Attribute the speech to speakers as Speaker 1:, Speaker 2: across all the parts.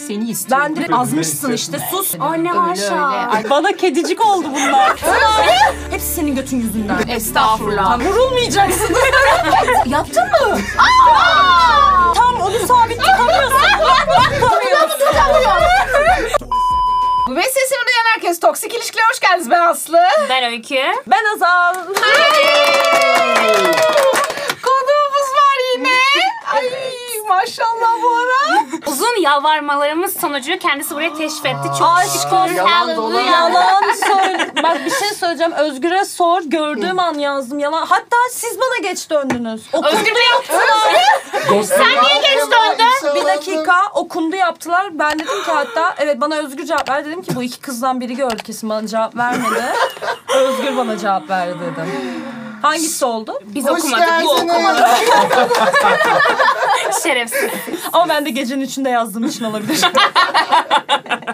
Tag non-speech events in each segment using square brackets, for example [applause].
Speaker 1: Seni istiyorum.
Speaker 2: Ben direkt azmışsın işte sus. Anne
Speaker 1: öyle.
Speaker 2: haşa.
Speaker 1: Ay,
Speaker 3: Bana kedicik oldu [laughs] bunlar.
Speaker 2: Hepsi senin götün yüzünden.
Speaker 1: Estağfurullah.
Speaker 3: [laughs]
Speaker 2: Vurulmayacaksın. Yaptın mı?
Speaker 3: Tam onu sabit tutamıyorsun.
Speaker 1: Ve sesimi duyan herkes toksik ilişkiler hoş geldiniz. Ben Aslı.
Speaker 4: Ben Öykü.
Speaker 3: Ben Azal.
Speaker 1: Konuğumuz var yine. Ay maşallah bu ara.
Speaker 4: Uzun yalvarmalarımız sonucu kendisi buraya teşrif etti. Çok
Speaker 1: Yalan
Speaker 4: şükür.
Speaker 1: dolan.
Speaker 4: Hallelujah.
Speaker 3: Yalan söyle. Bak bir şey söyleyeceğim. Özgür'e sor. Gördüğüm an yazdım yalan. Hatta siz bana geç döndünüz. Okundu
Speaker 4: Özgür Bey
Speaker 3: yaptılar.
Speaker 5: Sen niye geç döndün?
Speaker 3: bir dakika okundu yaptılar. Ben dedim ki hatta evet bana Özgür cevap ver. Dedim ki bu iki kızdan biri gördü kesin bana cevap vermedi. Özgür bana cevap verdi dedim. Hangisi oldu?
Speaker 4: biz
Speaker 5: Hoş
Speaker 4: okumadık. Bu
Speaker 5: geldiniz.
Speaker 4: okumadı. Şerefsiz.
Speaker 3: Ama ben de gecenin üçünde yazdığım için olabilir.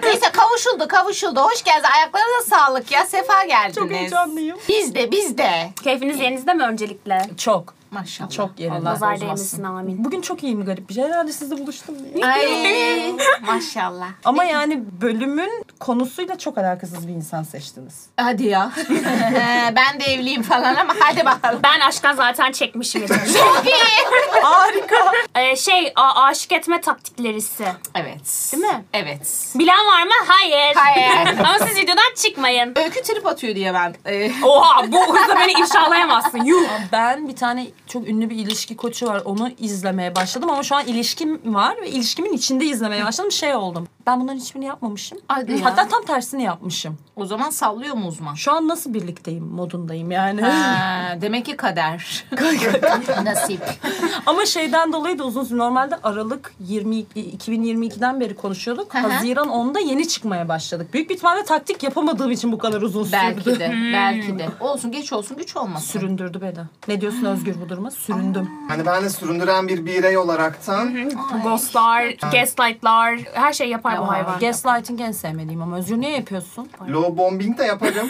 Speaker 6: Neyse kavuşuldu kavuşuldu. Hoş geldiniz. Ayaklarına sağlık ya. Sefa geldiniz.
Speaker 3: Çok heyecanlıyım.
Speaker 6: Biz de biz de.
Speaker 4: Keyfiniz yerinizde mi öncelikle?
Speaker 3: Çok.
Speaker 6: Maşallah.
Speaker 3: Çok yerinde.
Speaker 4: Nazar değmesin amin.
Speaker 3: Bugün çok iyiyim garip bir şey. Herhalde sizle buluştum diye.
Speaker 6: [laughs] Ay maşallah.
Speaker 3: Ama yani bölümün konusuyla çok alakasız bir insan seçtiniz.
Speaker 6: Hadi ya. Ee, ben de evliyim falan ama hadi bakalım.
Speaker 4: Ben aşktan zaten çekmişim. [laughs]
Speaker 3: Harika.
Speaker 4: ee, şey a- aşık etme taktiklerisi.
Speaker 6: Evet.
Speaker 4: Değil mi?
Speaker 6: Evet.
Speaker 4: Bilen var mı? Hayır.
Speaker 6: Hayır.
Speaker 4: Ama siz videodan çıkmayın.
Speaker 6: Öykü trip atıyor diye ben. Ee,
Speaker 4: Oha bu hızla beni ifşalayamazsın. Yuh.
Speaker 3: Ben bir tane çok ünlü bir ilişki koçu var. Onu izlemeye başladım ama şu an ilişkim var ve ilişkimin içinde izlemeye başladım. Şey oldum. Ben bunların hiçbirini yapmamışım.
Speaker 6: hadi ya.
Speaker 3: Hatta tam tersini yapmışım.
Speaker 6: o zaman sallıyor mu uzman?
Speaker 3: Şu an nasıl birlikteyim modundayım yani. [laughs]
Speaker 6: Ha, demek ki kader. [laughs] Nasip.
Speaker 3: Ama şeyden dolayı da uzun süre normalde Aralık e, 20, 2022'den beri konuşuyorduk.
Speaker 6: Hı hı.
Speaker 3: Haziran 10'da yeni çıkmaya başladık. Büyük bir ihtimalle taktik yapamadığım için bu kadar uzun sürdü.
Speaker 6: belki de. Belki de. Olsun geç olsun güç olmasın.
Speaker 3: Süründürdü beni. Ne diyorsun Özgür bu duruma? Süründüm.
Speaker 5: Hani ben de süründüren bir birey olaraktan
Speaker 4: Ghostlar, gaslightlar, her şey yapar bu hayvan.
Speaker 3: Gaslighting en sevmediğim ama Özgür niye yapıyorsun?
Speaker 5: low bombing de yaparım.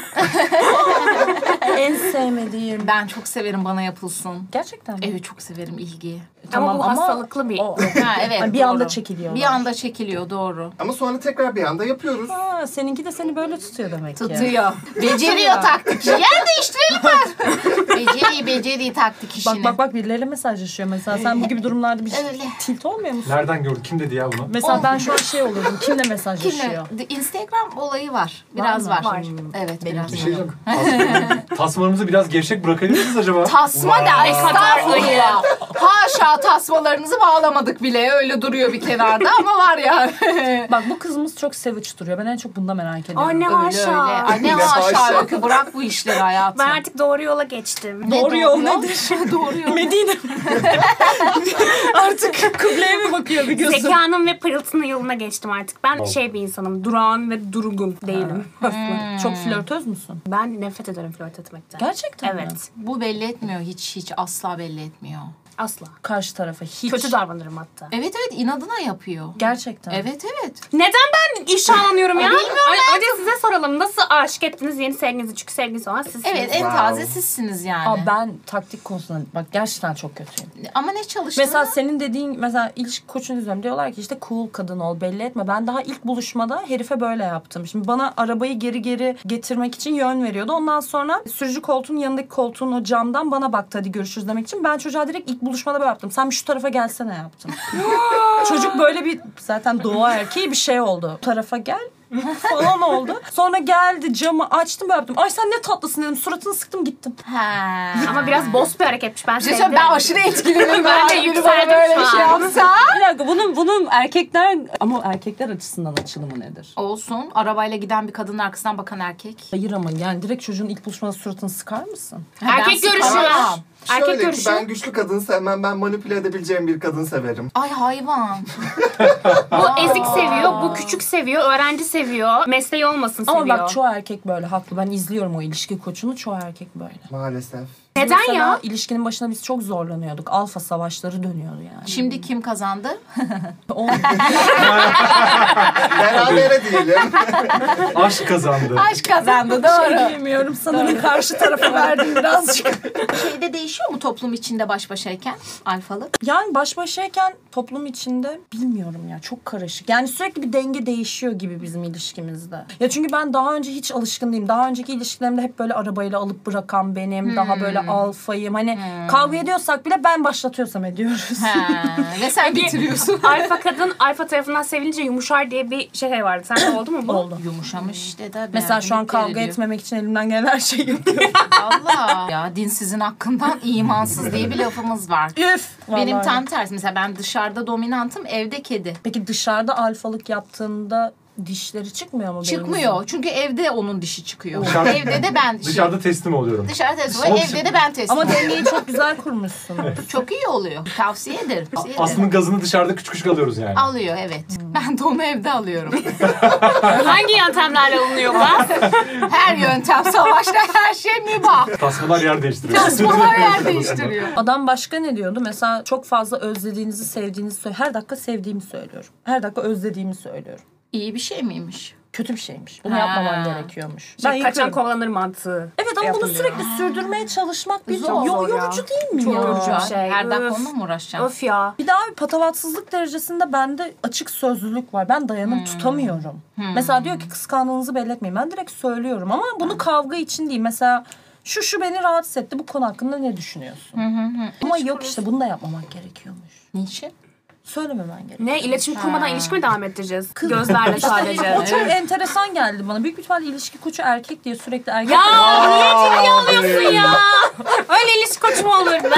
Speaker 5: [laughs]
Speaker 3: en sevmediğim.
Speaker 6: Ben çok severim bana yapılsın.
Speaker 3: Gerçekten mi?
Speaker 6: Evet çok severim ilgiyi.
Speaker 4: Ama bu hastalıklı bir.
Speaker 3: O-
Speaker 6: Ha evet.
Speaker 3: Hani bir
Speaker 6: doğru.
Speaker 3: anda çekiliyor.
Speaker 6: Bir anda çekiliyor doğru.
Speaker 5: Ama sonra tekrar bir anda yapıyoruz.
Speaker 3: Ha, seninki de seni böyle tutuyor demek ki. [laughs]
Speaker 6: Tutuyor. Beceriyor taktik. Yer değiştirelim var. beceri beceri taktik
Speaker 3: Bak
Speaker 6: işini.
Speaker 3: bak bak birileriyle mesajlaşıyor mesela. Sen bu gibi durumlarda bir
Speaker 6: Öyle.
Speaker 3: tilt olmuyor musun?
Speaker 7: Nereden gördün? Kim dedi ya bunu?
Speaker 3: Mesela ben şu an şey olurdum. Kimle
Speaker 6: Kimle?
Speaker 3: mesajlaşıyor?
Speaker 6: The Instagram olayı var. Biraz
Speaker 3: mı?
Speaker 6: var.
Speaker 4: Var.
Speaker 6: Evet biraz.
Speaker 7: Bir
Speaker 3: [laughs]
Speaker 7: şey diyeceğim. Tasmanı- Tasmanımızı biraz gevşek bırakabilir miyiz acaba?
Speaker 6: Tasma da
Speaker 4: Ne kadar
Speaker 6: estağfurullah. Haşa tasmalarınızı bağlamadık bile. Öyle duruyor bir kenarda ama var ya. [laughs]
Speaker 3: Bak bu kızımız çok savage duruyor. Ben en çok bunda merak ediyorum.
Speaker 4: Anne
Speaker 6: öyle öyle.
Speaker 4: haşa.
Speaker 6: Ay ne
Speaker 5: Ne
Speaker 6: haşa
Speaker 5: haşa.
Speaker 6: Öykü bırak bu işleri hayatım.
Speaker 4: Ben artık doğru yola geçtim.
Speaker 6: Ne
Speaker 3: Doğru yol nedir?
Speaker 6: [laughs] doğru
Speaker 3: [laughs]
Speaker 6: yol.
Speaker 3: Medine. Artık kıbleye mi bakıyor bir gözüm?
Speaker 4: Zekanın ve pırıltının yoluna geçtim artık. Ben şey bir insanım. Durağan ve durgun değilim.
Speaker 3: Çok flörtöz müsün?
Speaker 4: Ben nefret ederim flört etmekten.
Speaker 3: Gerçekten mi?
Speaker 4: Evet.
Speaker 6: Bu belli etmiyor hiç hiç asla belli etmiyor.
Speaker 4: Asla.
Speaker 3: Karşı tarafa hiç.
Speaker 4: Kötü davranırım hatta.
Speaker 6: Evet evet inadına yapıyor.
Speaker 3: Gerçekten.
Speaker 6: Evet evet.
Speaker 4: Neden ben ifşalanıyorum ya? Ay, önce size soralım. Nasıl aşık ettiniz yeni sevginizi? Çünkü sevginiz olan sizsiniz.
Speaker 6: Evet en
Speaker 5: Wow.
Speaker 6: taze sizsiniz yani.
Speaker 3: Aa, ben taktik konusunda bak gerçekten çok kötüyüm.
Speaker 6: Ama ne çalıştığını...
Speaker 3: Mesela senin dediğin mesela ilişki koçun üzerine diyorlar ki işte cool kadın ol belli etme. Ben daha ilk buluşmada herife böyle yaptım. Şimdi bana arabayı geri geri getirmek için yön veriyordu. Ondan sonra sürücü koltuğun yanındaki koltuğun o camdan bana baktı hadi görüşürüz demek için. Ben çocuğa direkt ilk buluşmada böyle yaptım. Sen bir şu tarafa gelsene yaptım. Çocuk böyle bir zaten doğa erkeği bir şey oldu. Bu tarafa gel falan oldu. Sonra geldi camı açtım böyle yaptım. Ay sen ne tatlısın dedim. Suratını sıktım gittim.
Speaker 6: Ha.
Speaker 4: Ama biraz boss bir hareketmiş. Ben
Speaker 6: Bir şey
Speaker 4: sevdim.
Speaker 6: söyleyeyim, [laughs] ben aşırı etkilendim.
Speaker 4: Ben de
Speaker 6: Biri
Speaker 4: yükseldim
Speaker 6: bana böyle
Speaker 4: şu
Speaker 6: bir şey
Speaker 4: an.
Speaker 6: yapsa.
Speaker 3: Bir dakika bunun, bunun erkekler ama erkekler açısından açılımı nedir?
Speaker 6: Olsun. Arabayla giden bir kadının arkasından bakan erkek.
Speaker 3: Hayır ama yani direkt çocuğun ilk buluşmada suratını sıkar mısın?
Speaker 4: Erkek
Speaker 6: Ben
Speaker 4: görüşü
Speaker 6: sıkarım.
Speaker 4: var. Erkek
Speaker 5: Şöyle ki
Speaker 4: görüşü.
Speaker 5: ben güçlü kadın sevmem. Ben manipüle edebileceğim bir kadın severim.
Speaker 6: Ay hayvan.
Speaker 4: Bu ezik seviyor, bu küçük seviyor, öğrenci seviyor, mesleği olmasın seviyor.
Speaker 3: Ama bak çoğu erkek böyle haklı. Ben izliyorum o ilişki koçunu çoğu erkek böyle.
Speaker 5: Maalesef.
Speaker 4: Neden
Speaker 3: Mesela
Speaker 4: ya?
Speaker 3: ilişkinin başında biz çok zorlanıyorduk.
Speaker 6: [laughs]
Speaker 3: Alfa savaşları dönüyordu yani.
Speaker 6: Şimdi kim kazandı?
Speaker 3: Oldu.
Speaker 5: Berabere
Speaker 4: [laughs]
Speaker 5: diyelim.
Speaker 7: Aşk kazandı.
Speaker 6: Aşk kazandı doğru.
Speaker 3: Bilmiyorum sanırım karşı tarafa verdim birazcık.
Speaker 6: Şeyde şey değişiyor mu toplum içinde baş başayken alfalık?
Speaker 3: Yani baş başayken toplum içinde bilmiyorum ya çok karışık. Yani sürekli bir denge değişiyor gibi bizim ilişkimizde. Ya çünkü ben daha önce hiç alışkın değilim. Daha önceki ilişkilerimde hep böyle arabayla alıp bırakan benim. Daha böyle
Speaker 6: Hmm.
Speaker 3: alfayım. Hani kavga ediyorsak bile ben başlatıyorsam ediyoruz.
Speaker 6: He, ve sen bitiriyorsun.
Speaker 4: alfa kadın alfa tarafından sevilince yumuşar diye bir şey vardı. Sen de oldu mu bu?
Speaker 3: Oldu.
Speaker 6: [laughs] Yumuşamış işte tabii.
Speaker 3: [laughs] Mesela şu an
Speaker 6: Erkekler
Speaker 3: kavga
Speaker 6: ediyor.
Speaker 3: etmemek için elimden gelen her şeyi yapıyorum.
Speaker 6: Allah. Ya dinsizin hakkından imansız diye bir lafımız var.
Speaker 3: [laughs] Üf.
Speaker 6: Benim
Speaker 3: Vallahi.
Speaker 6: tam tersi. Mesela ben dışarıda dominantım, evde kedi.
Speaker 3: Peki dışarıda alfalık yaptığında dişleri çıkmıyor mu?
Speaker 6: Çıkmıyor. Çünkü evde onun dişi çıkıyor.
Speaker 7: Dışarı-
Speaker 6: evde de ben dişi.
Speaker 7: Dışarıda teslim oluyorum.
Speaker 6: Dışarıda teslim oluyor,
Speaker 7: Soğuk-
Speaker 6: evde de ben teslim
Speaker 3: Ama
Speaker 6: oluyorum.
Speaker 3: dengeyi çok güzel kurmuşsunuz.
Speaker 6: Çok iyi oluyor. Tavsiye ederim. Tavsiye ederim.
Speaker 7: Aslında gazını dışarıda küçük küçük alıyoruz yani.
Speaker 6: Alıyor evet.
Speaker 4: Hmm.
Speaker 6: Ben de onu evde alıyorum.
Speaker 4: Hangi yöntemlerle olunuyor bu?
Speaker 6: Her yöntem savaşta her şey mübah.
Speaker 7: Tasmalar yer değiştiriyor.
Speaker 6: Tasmalar yer değiştiriyor.
Speaker 3: Adam başka ne diyordu? Mesela çok fazla özlediğinizi, sevdiğinizi söyle. Her dakika sevdiğimi söylüyorum. Her dakika özlediğimi söylüyorum.
Speaker 6: İyi bir şey miymiş?
Speaker 3: Kötü bir şeymiş. Bunu
Speaker 6: Ha.
Speaker 3: yapmaman gerekiyormuş.
Speaker 4: Şey,
Speaker 3: ben
Speaker 4: kaçan
Speaker 3: yıkıyorum.
Speaker 4: kovalanır mantığı.
Speaker 3: Evet ama bunu
Speaker 4: yapılıyor.
Speaker 3: sürekli sürdürmeye çalışmak bir
Speaker 4: Zor,
Speaker 3: zor.
Speaker 4: zor ya.
Speaker 3: yorucu değil mi
Speaker 4: Çok
Speaker 3: ya?
Speaker 4: yorucu.
Speaker 6: Aa,
Speaker 4: Şey,
Speaker 6: Her dakika
Speaker 4: öf.
Speaker 6: onunla mı uğraşacaksın?
Speaker 4: Of ya.
Speaker 3: Bir daha bir patavatsızlık derecesinde bende açık sözlülük var. Ben dayanım
Speaker 4: Hmm.
Speaker 3: tutamıyorum. Mesela diyor ki kıskandığınızı belli etmeyin. Ben direkt söylüyorum ama bunu kavga için değil. Mesela şu şu beni rahatsız etti. Bu konu hakkında ne düşünüyorsun? Ama yok işte bunu da yapmamak gerekiyormuş.
Speaker 6: Niçin?
Speaker 3: Söylememen gerekiyor.
Speaker 4: Ne iletişim kurmadan ilişki mi devam ettireceğiz? Gözlerle sadece.
Speaker 3: O çok enteresan geldi bana. Büyük bir ihtimalle ilişki koçu erkek diye sürekli erkek.
Speaker 4: ya niye ciddi
Speaker 5: Aa,
Speaker 4: alıyorsun ya? Öyle ilişki koç mu olur be?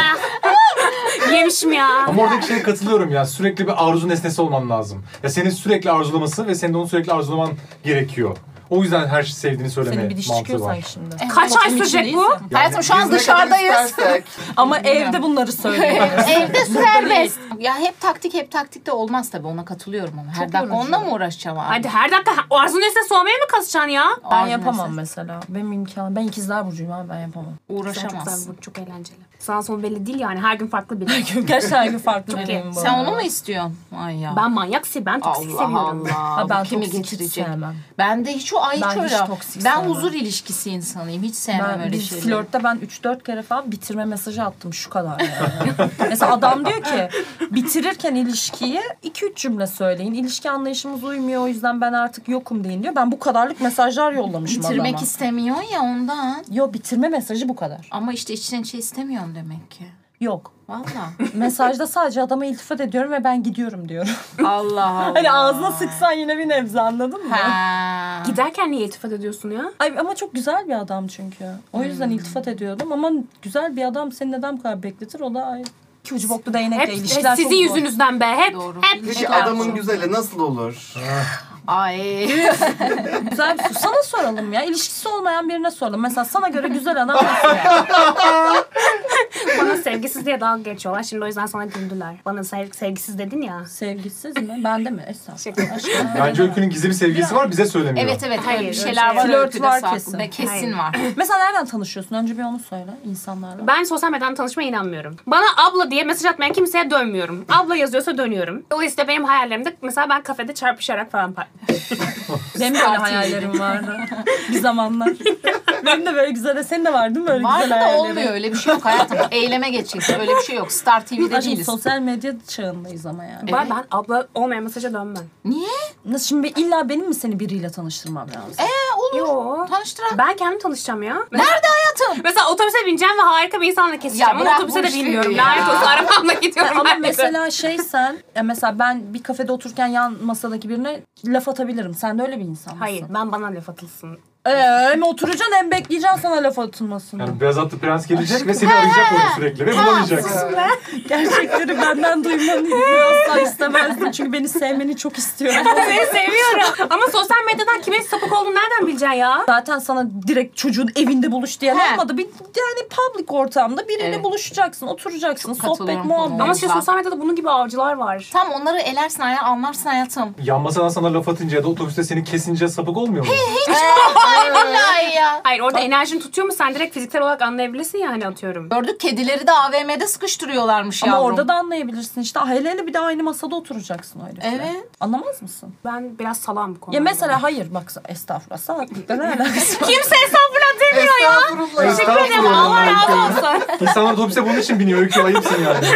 Speaker 4: Yemişim ya.
Speaker 7: Ama oradaki şeye katılıyorum ya. Sürekli bir arzu nesnesi olman lazım. Ya senin sürekli arzulaması ve senin de onu sürekli arzulaman gerekiyor. O yüzden her şeyi sevdiğini
Speaker 3: Senin
Speaker 7: söyleme
Speaker 3: bir diş
Speaker 7: mantığı
Speaker 3: çıkıyor
Speaker 7: var.
Speaker 3: sanki şimdi.
Speaker 4: Kaç ay
Speaker 3: Toplum için
Speaker 4: sürecek bu?
Speaker 3: değilse.
Speaker 6: Hayatım şu
Speaker 5: Biz
Speaker 6: an
Speaker 5: ne kadar
Speaker 4: [laughs]
Speaker 6: dışarıdayız.
Speaker 5: istersek.
Speaker 3: Ama evde bunları söylüyor.
Speaker 6: [laughs] Evde serbest. Ya hep taktik hep taktik de olmaz tabii ona katılıyorum ama. Her dakika onunla mı uğraşacağım abi?
Speaker 4: Hadi her dakika o arzu nesne soğumaya mı kasacaksın ya?
Speaker 3: ben
Speaker 6: Ağzına
Speaker 3: yapamam
Speaker 6: ses.
Speaker 3: mesela. Benim imkanım. Ben ikizler burcuyum abi ben yapamam. [laughs]
Speaker 4: Çok
Speaker 6: Uğraşamazsın.
Speaker 4: güzel, çok eğlenceli. Sana son belli değil yani her gün farklı biri.
Speaker 3: Gerçekten
Speaker 6: [laughs]
Speaker 3: her gün farklı
Speaker 4: iyi.
Speaker 3: deneyim bu.
Speaker 6: Sen onu mu istiyorsun? Ay ya.
Speaker 4: Ben manyak si- ben toksik
Speaker 6: Allah
Speaker 4: seviyorum.
Speaker 6: Allah.
Speaker 3: Ha, ben
Speaker 6: Bu kimi
Speaker 3: toksik hiç
Speaker 6: getirecek?
Speaker 3: sevmem.
Speaker 6: Ben de hiç o ay hiç
Speaker 3: Ben
Speaker 6: öyle.
Speaker 3: hiç toksik
Speaker 6: ben
Speaker 3: sevmem.
Speaker 6: huzur ilişkisi insanıyım. Hiç sevmem
Speaker 3: Ben
Speaker 6: öyle
Speaker 3: bir
Speaker 6: şeyleri.
Speaker 3: flörtte ben 3-4 kere falan bitirme mesajı attım şu kadar yani. [laughs] Mesela adam diyor ki bitirirken ilişkiyi 2-3 cümle söyleyin. İlişki anlayışımız uymuyor o yüzden ben artık yokum deyin diyor. Ben bu kadarlık mesajlar yollamışım
Speaker 6: Bitirmek
Speaker 3: adama.
Speaker 6: istemiyorsun ya ondan.
Speaker 3: Yo bitirme mesajı bu kadar.
Speaker 6: Ama işte içten içe istemiyorsun demek ki.
Speaker 3: Yok. [laughs]
Speaker 6: Valla.
Speaker 3: Mesajda sadece adama iltifat ediyorum ve ben gidiyorum diyorum. [laughs]
Speaker 6: Allah Allah.
Speaker 3: hani ağzına sıksan yine bir nebze anladın mı?
Speaker 6: Ha.
Speaker 4: Giderken niye iltifat ediyorsun ya?
Speaker 3: Ay, ama çok güzel bir adam çünkü. O yüzden
Speaker 4: Hmm.
Speaker 3: iltifat ediyordum ama güzel bir adam seni neden bu kadar bekletir? O da ay. İki ucu boklu değnekle
Speaker 4: Hep, hep
Speaker 3: ilişkiler çok
Speaker 4: sizin
Speaker 3: zor.
Speaker 4: yüzünüzden be hep.
Speaker 6: Doğru.
Speaker 4: Hep.
Speaker 5: Peki
Speaker 4: hep
Speaker 5: adamın
Speaker 4: yaptım.
Speaker 5: güzeli nasıl olur?
Speaker 6: Ay.
Speaker 3: Güzel bir soru. Sana soralım ya. İlişkisi olmayan birine soralım. Mesela sana göre güzel adam nasıl
Speaker 4: [laughs]
Speaker 3: yani?
Speaker 4: Bana sevgisiz diye dalga geçiyorlar. Şimdi o yüzden sana güldüler. Bana sev- sevgisiz dedin ya.
Speaker 3: Sevgisiz mi? Bende mi? Estağfurullah.
Speaker 4: Şaka.
Speaker 7: Bence Öykü'nün gizli bir sevgilisi var bize söylemiyor.
Speaker 6: Evet evet öyle bir
Speaker 4: Hayır,
Speaker 6: şeyler var.
Speaker 3: öyle
Speaker 6: Flört
Speaker 3: şey yok.
Speaker 6: var
Speaker 3: Flört var
Speaker 6: kesin. Ve kesin
Speaker 4: Hayır.
Speaker 6: var.
Speaker 3: Mesela nereden tanışıyorsun? Önce bir onu söyle insanlarla.
Speaker 4: Ben sosyal medyadan tanışmaya inanmıyorum. Bana abla diye mesaj atmayan kimseye dönmüyorum. Abla yazıyorsa dönüyorum. Dolayısıyla benim hayallerimde mesela ben kafede çarpışarak falan par-
Speaker 3: Benim böyle hayallerim vardı. [laughs] bir zamanlar. Benim de böyle güzel. Senin de var değil mi böyle
Speaker 6: Var
Speaker 3: güzel
Speaker 6: da
Speaker 3: hayallerin?
Speaker 6: olmuyor öyle bir şey
Speaker 3: [laughs]
Speaker 6: yok hayatım. Eyleme geçeceksin öyle bir şey yok. Star TV'de
Speaker 3: Aşkım
Speaker 6: değiliz.
Speaker 3: sosyal medya çağındayız ama yani.
Speaker 4: Ben, ben abla olmayan mesaja dönmem.
Speaker 6: Niye?
Speaker 3: Nasıl şimdi illa benim mi seni biriyle tanıştırmam lazım?
Speaker 6: Ha, olur.
Speaker 4: Yo.
Speaker 6: Tanıştıran.
Speaker 4: Ben kendim tanışacağım ya.
Speaker 6: Nerede hayatım?
Speaker 4: Mesela otobüse bineceğim ve harika bir insanla keseceğim.
Speaker 6: Ya
Speaker 4: Ama
Speaker 6: bırak
Speaker 4: otobüse
Speaker 6: bu
Speaker 4: de
Speaker 6: işleri
Speaker 4: bilmiyorum.
Speaker 6: ya.
Speaker 4: Lanet olsun arabamla gidiyorum.
Speaker 3: Ama
Speaker 4: her yere.
Speaker 3: mesela şey sen, ya mesela ben bir kafede otururken yan masadaki birine laf atabilirim. Sen de öyle bir insan mısın?
Speaker 4: Hayır ben bana laf atılsın.
Speaker 3: Ee, hem oturacaksın hem bekleyeceksin sana laf atılmasını.
Speaker 7: Yani beyaz atlı prens gelecek ve seni arayacak orada sürekli ve bulamayacak.
Speaker 3: Gerçekleri benden duymanı asla istemezdim. Çünkü beni sevmeni çok
Speaker 4: [laughs]
Speaker 3: istiyorum.
Speaker 4: Seni seviyorum. Ama sosyal medyadan kimin sapık olduğunu nereden bileceksin ya?
Speaker 3: Zaten sana direkt çocuğun evinde buluş diye
Speaker 6: He.
Speaker 3: olmadı. Bir, yani public ortamda biriyle
Speaker 6: Evet.
Speaker 3: buluşacaksın, oturacaksın, sohbet,
Speaker 6: katılıyorum bu konuda.
Speaker 3: muhabbet.
Speaker 4: Ama şey sosyal medyada bunun gibi avcılar var.
Speaker 6: Tam onları elersin hayatım anlarsın hayatım. Ee,
Speaker 7: Yan masadan sana laf atınca ya da otobüste seni kesince sapık olmuyor mu?
Speaker 6: Billahi ya.
Speaker 4: Hayır orada enerjini tutuyor mu sen direkt fiziksel olarak anlayabilirsin ya hani atıyorum.
Speaker 6: Gördük kedileri de AVM'de sıkıştırıyorlarmış
Speaker 3: Ama
Speaker 6: yavrum.
Speaker 3: orada da anlayabilirsin işte. Hele hele bir de aynı masada oturacaksın o herifle.
Speaker 6: Evet.
Speaker 3: Anlamaz mısın?
Speaker 4: Ben biraz salam bu konuda.
Speaker 3: Ya mesela hayır bak estağfurullah salaklıkla ne alakası var?
Speaker 4: Kimse estağfurullah demiyor.
Speaker 5: Estağfurullah.
Speaker 4: Teşekkür ederim. Allah razı olsun.
Speaker 7: [laughs] İnsanlar otobüse bunun için biniyor. Öykü ayıpsın yani.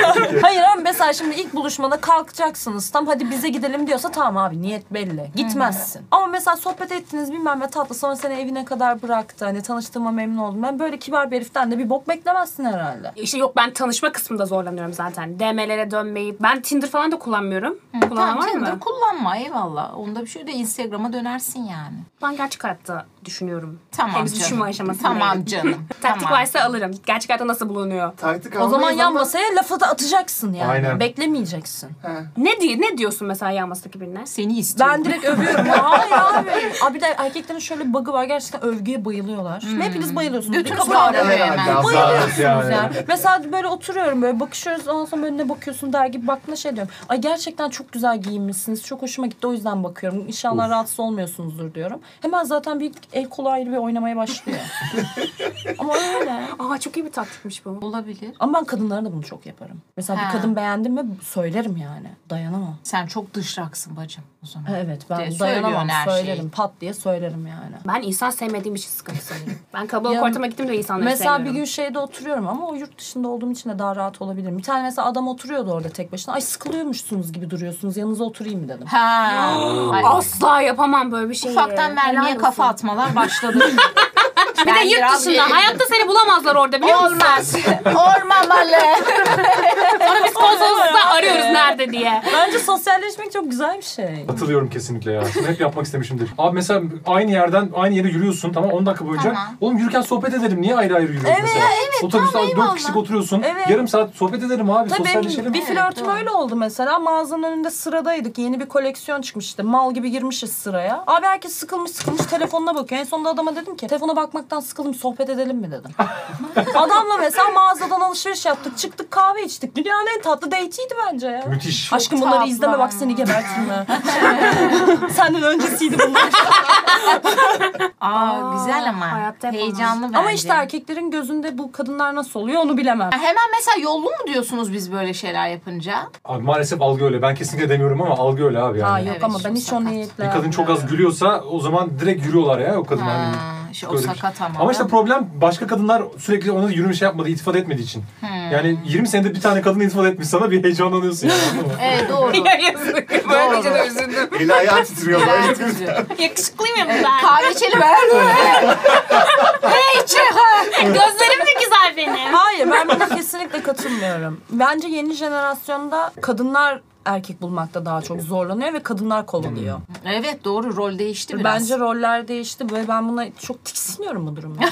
Speaker 3: [laughs] Hayır ama mesela şimdi ilk buluşmada kalkacaksınız. Tam hadi bize gidelim diyorsa tamam abi niyet belli. Gitmezsin. Ama mesela sohbet ettiniz bilmem ne tatlı sonra seni evine kadar bıraktı. Hani tanıştığıma memnun oldum. Ben böyle kibar bir heriften de bir bok beklemezsin herhalde.
Speaker 4: İşte yok ben tanışma kısmında zorlanıyorum zaten. DM'lere dönmeyi. Ben Tinder falan da kullanmıyorum. Kullanan
Speaker 6: Tamam
Speaker 4: var
Speaker 6: Tinder
Speaker 4: mı?
Speaker 6: kullanma eyvallah. Onda bir şey de Instagram'a dönersin yani.
Speaker 4: Ben gerçek hayatta düşünüyorum.
Speaker 6: Tamam
Speaker 4: Henüz
Speaker 6: canım.
Speaker 4: düşünme aşamasındayım.
Speaker 6: Tamam canım.
Speaker 4: Taktik
Speaker 6: tamam.
Speaker 4: varsa alırım. Gerçek hayatta nasıl bulunuyor?
Speaker 5: Taktik
Speaker 3: O zaman
Speaker 5: almayız
Speaker 3: yan
Speaker 5: ama-
Speaker 3: masaya lafı da atacaksın yani.
Speaker 7: Aynen.
Speaker 3: Beklemeyeceksin.
Speaker 5: He.
Speaker 4: Ne diye ne diyorsun mesela yanmasındaki birine?
Speaker 6: Seni istiyorum.
Speaker 3: Ben [laughs] direkt övüyorum. Hayır abi. Abi bir de erkeklerin şöyle bir bug'ı var. Gerçekten övgüye bayılıyorlar. Hepiniz bayılıyorsunuz. Bir kabul
Speaker 6: kavga
Speaker 3: edin.
Speaker 6: Evet,
Speaker 5: Herhalde
Speaker 6: hemen.
Speaker 5: azarız
Speaker 3: Bayılıyorsunuz
Speaker 5: yani.
Speaker 3: yani. Mesela böyle oturuyorum böyle bakışıyoruz ondan sonra önüne bakıyorsun der gibi baktığında şey diyorum. Ay gerçekten çok güzel giyinmişsiniz. Çok hoşuma gitti o yüzden bakıyorum. İnşallah rahatsız olmuyorsunuzdur diyorum. Hemen zaten bir el kolu ayrı bir oynamaya başlıyor. Ama öyle.
Speaker 4: Aa çok iyi bir taktikmiş bu.
Speaker 6: Olabilir.
Speaker 3: Ama ben kadınlara da bunu çok yaparım. Mesela
Speaker 6: Ha.
Speaker 3: bir kadın beğendi mi söylerim yani. Dayanamam.
Speaker 6: Sen çok dışraksın bacım o zaman.
Speaker 3: Evet
Speaker 6: De,
Speaker 3: ben
Speaker 6: söylüyorsun
Speaker 3: dayanamam
Speaker 6: her şeyi.
Speaker 3: söylerim. Pat diye söylerim yani.
Speaker 4: Ben insan sevmediğim için sıkıntı sanırım. Ben kalabalık
Speaker 3: Ya,
Speaker 4: ortama gittim de insanları
Speaker 3: Mesela bir
Speaker 4: sevmiyorum.
Speaker 3: gün şeyde oturuyorum ama o yurt dışında olduğum için de daha rahat olabilirim. Bir tane mesela adam oturuyordu orada tek başına. Ay sıkılıyormuşsunuz gibi duruyorsunuz. Yanınıza oturayım mı dedim.
Speaker 6: Ha. Ay,
Speaker 4: Asla yapamam böyle bir şeyi.
Speaker 6: Ufaktan
Speaker 4: Helal
Speaker 6: mermiye
Speaker 4: olsun.
Speaker 6: kafa atmalar başladı.
Speaker 4: Bir de yurt dışında. Hayatta seni bulamazlar orada biliyor musun?
Speaker 6: Olmaz. Olmamalı.
Speaker 4: Sonra biz konsolosluğa arıyoruz nerede diye.
Speaker 3: Bence sosyalleşmek çok güzel bir şey.
Speaker 7: Katılıyorum kesinlikle ya. Bunu hep yapmak istemişimdir. Abi mesela aynı yerden aynı yere yürüyorsun tamam 10 dakika boyunca.
Speaker 6: Tamam.
Speaker 7: Oğlum yürürken sohbet edelim. Niye ayrı ayrı yürüyoruz
Speaker 3: Evet,
Speaker 7: mesela?
Speaker 6: evet,
Speaker 7: Otobüste
Speaker 6: tamam,
Speaker 7: 4
Speaker 6: eyvallah.
Speaker 7: kişilik oturuyorsun.
Speaker 3: Evet.
Speaker 7: Yarım saat sohbet edelim abi.
Speaker 3: Tabii
Speaker 7: sosyalleşelim.
Speaker 3: benim bir flörtüm
Speaker 6: doğru.
Speaker 3: öyle oldu mesela. Mağazanın önünde sıradaydık. Yeni bir koleksiyon çıkmış işte. Mal gibi girmişiz sıraya. Abi herkes sıkılmış sıkılmış telefonuna bakıyor. En sonunda adama dedim ki telefona bakmaktan sıkıldım sohbet edelim mi
Speaker 6: [laughs]
Speaker 3: dedim. Adamla mesela mağazadan alışveriş yaptık. Çıktık kahve içtik. Dünyanın en tatlı date'iydi bence ya.
Speaker 7: Müthiş.
Speaker 3: Aşkım bunları
Speaker 6: tatlı.
Speaker 3: izleme bak seni
Speaker 6: [laughs]
Speaker 3: gebertirme. Senden öncesiydi bunlar.
Speaker 6: Aa, güzel ama.
Speaker 4: hayatta yapamam.
Speaker 6: Heyecanlı bence.
Speaker 3: Ama işte erkeklerin gözünde bu kadınlar nasıl oluyor onu bilemem.
Speaker 6: Hemen mesela yollu mu diyorsunuz biz böyle şeyler yapınca?
Speaker 7: Abi maalesef algı öyle. Ben kesinlikle demiyorum ama algı öyle abi yani.
Speaker 3: Aa yok
Speaker 6: Evet,
Speaker 3: ama ben hiç o
Speaker 6: sakat.
Speaker 3: niyetle.
Speaker 7: Bir kadın çok az gülüyorsa o zaman direkt yürüyorlar ya o kadın.
Speaker 6: Ha,
Speaker 7: hani.
Speaker 6: işte o
Speaker 7: Böyle bir şey.
Speaker 6: sakat ama.
Speaker 7: Ama işte problem başka kadınlar sürekli ona yürüme şey yapmadığı, itifat etmediği için.
Speaker 6: Hmm.
Speaker 7: Yani 20 senede bir tane kadın itifat etmiş sana bir heyecanlanıyorsun yani.
Speaker 6: [laughs]
Speaker 7: anladın mı?
Speaker 6: Evet doğru.
Speaker 4: Ya yazık. Böyle deyince de üzüldüm.
Speaker 5: Eli
Speaker 4: [laughs]
Speaker 5: ayağı titriyor.
Speaker 6: Ben kızıyorum.
Speaker 4: Yakışıklıyım ya ben.
Speaker 6: Kahve içelim. Hey çıkar.
Speaker 4: Gözlerim de güzel benim.
Speaker 3: Hayır ben buna kesinlikle katılmıyorum. Bence yeni jenerasyonda kadınlar erkek bulmakta daha çok zorlanıyor ve kadınlar kovalıyor.
Speaker 6: [laughs] Evet doğru rol değişti Hmm. biraz.
Speaker 3: Bence roller değişti ve ben buna çok tiksiniyorum bu durumda.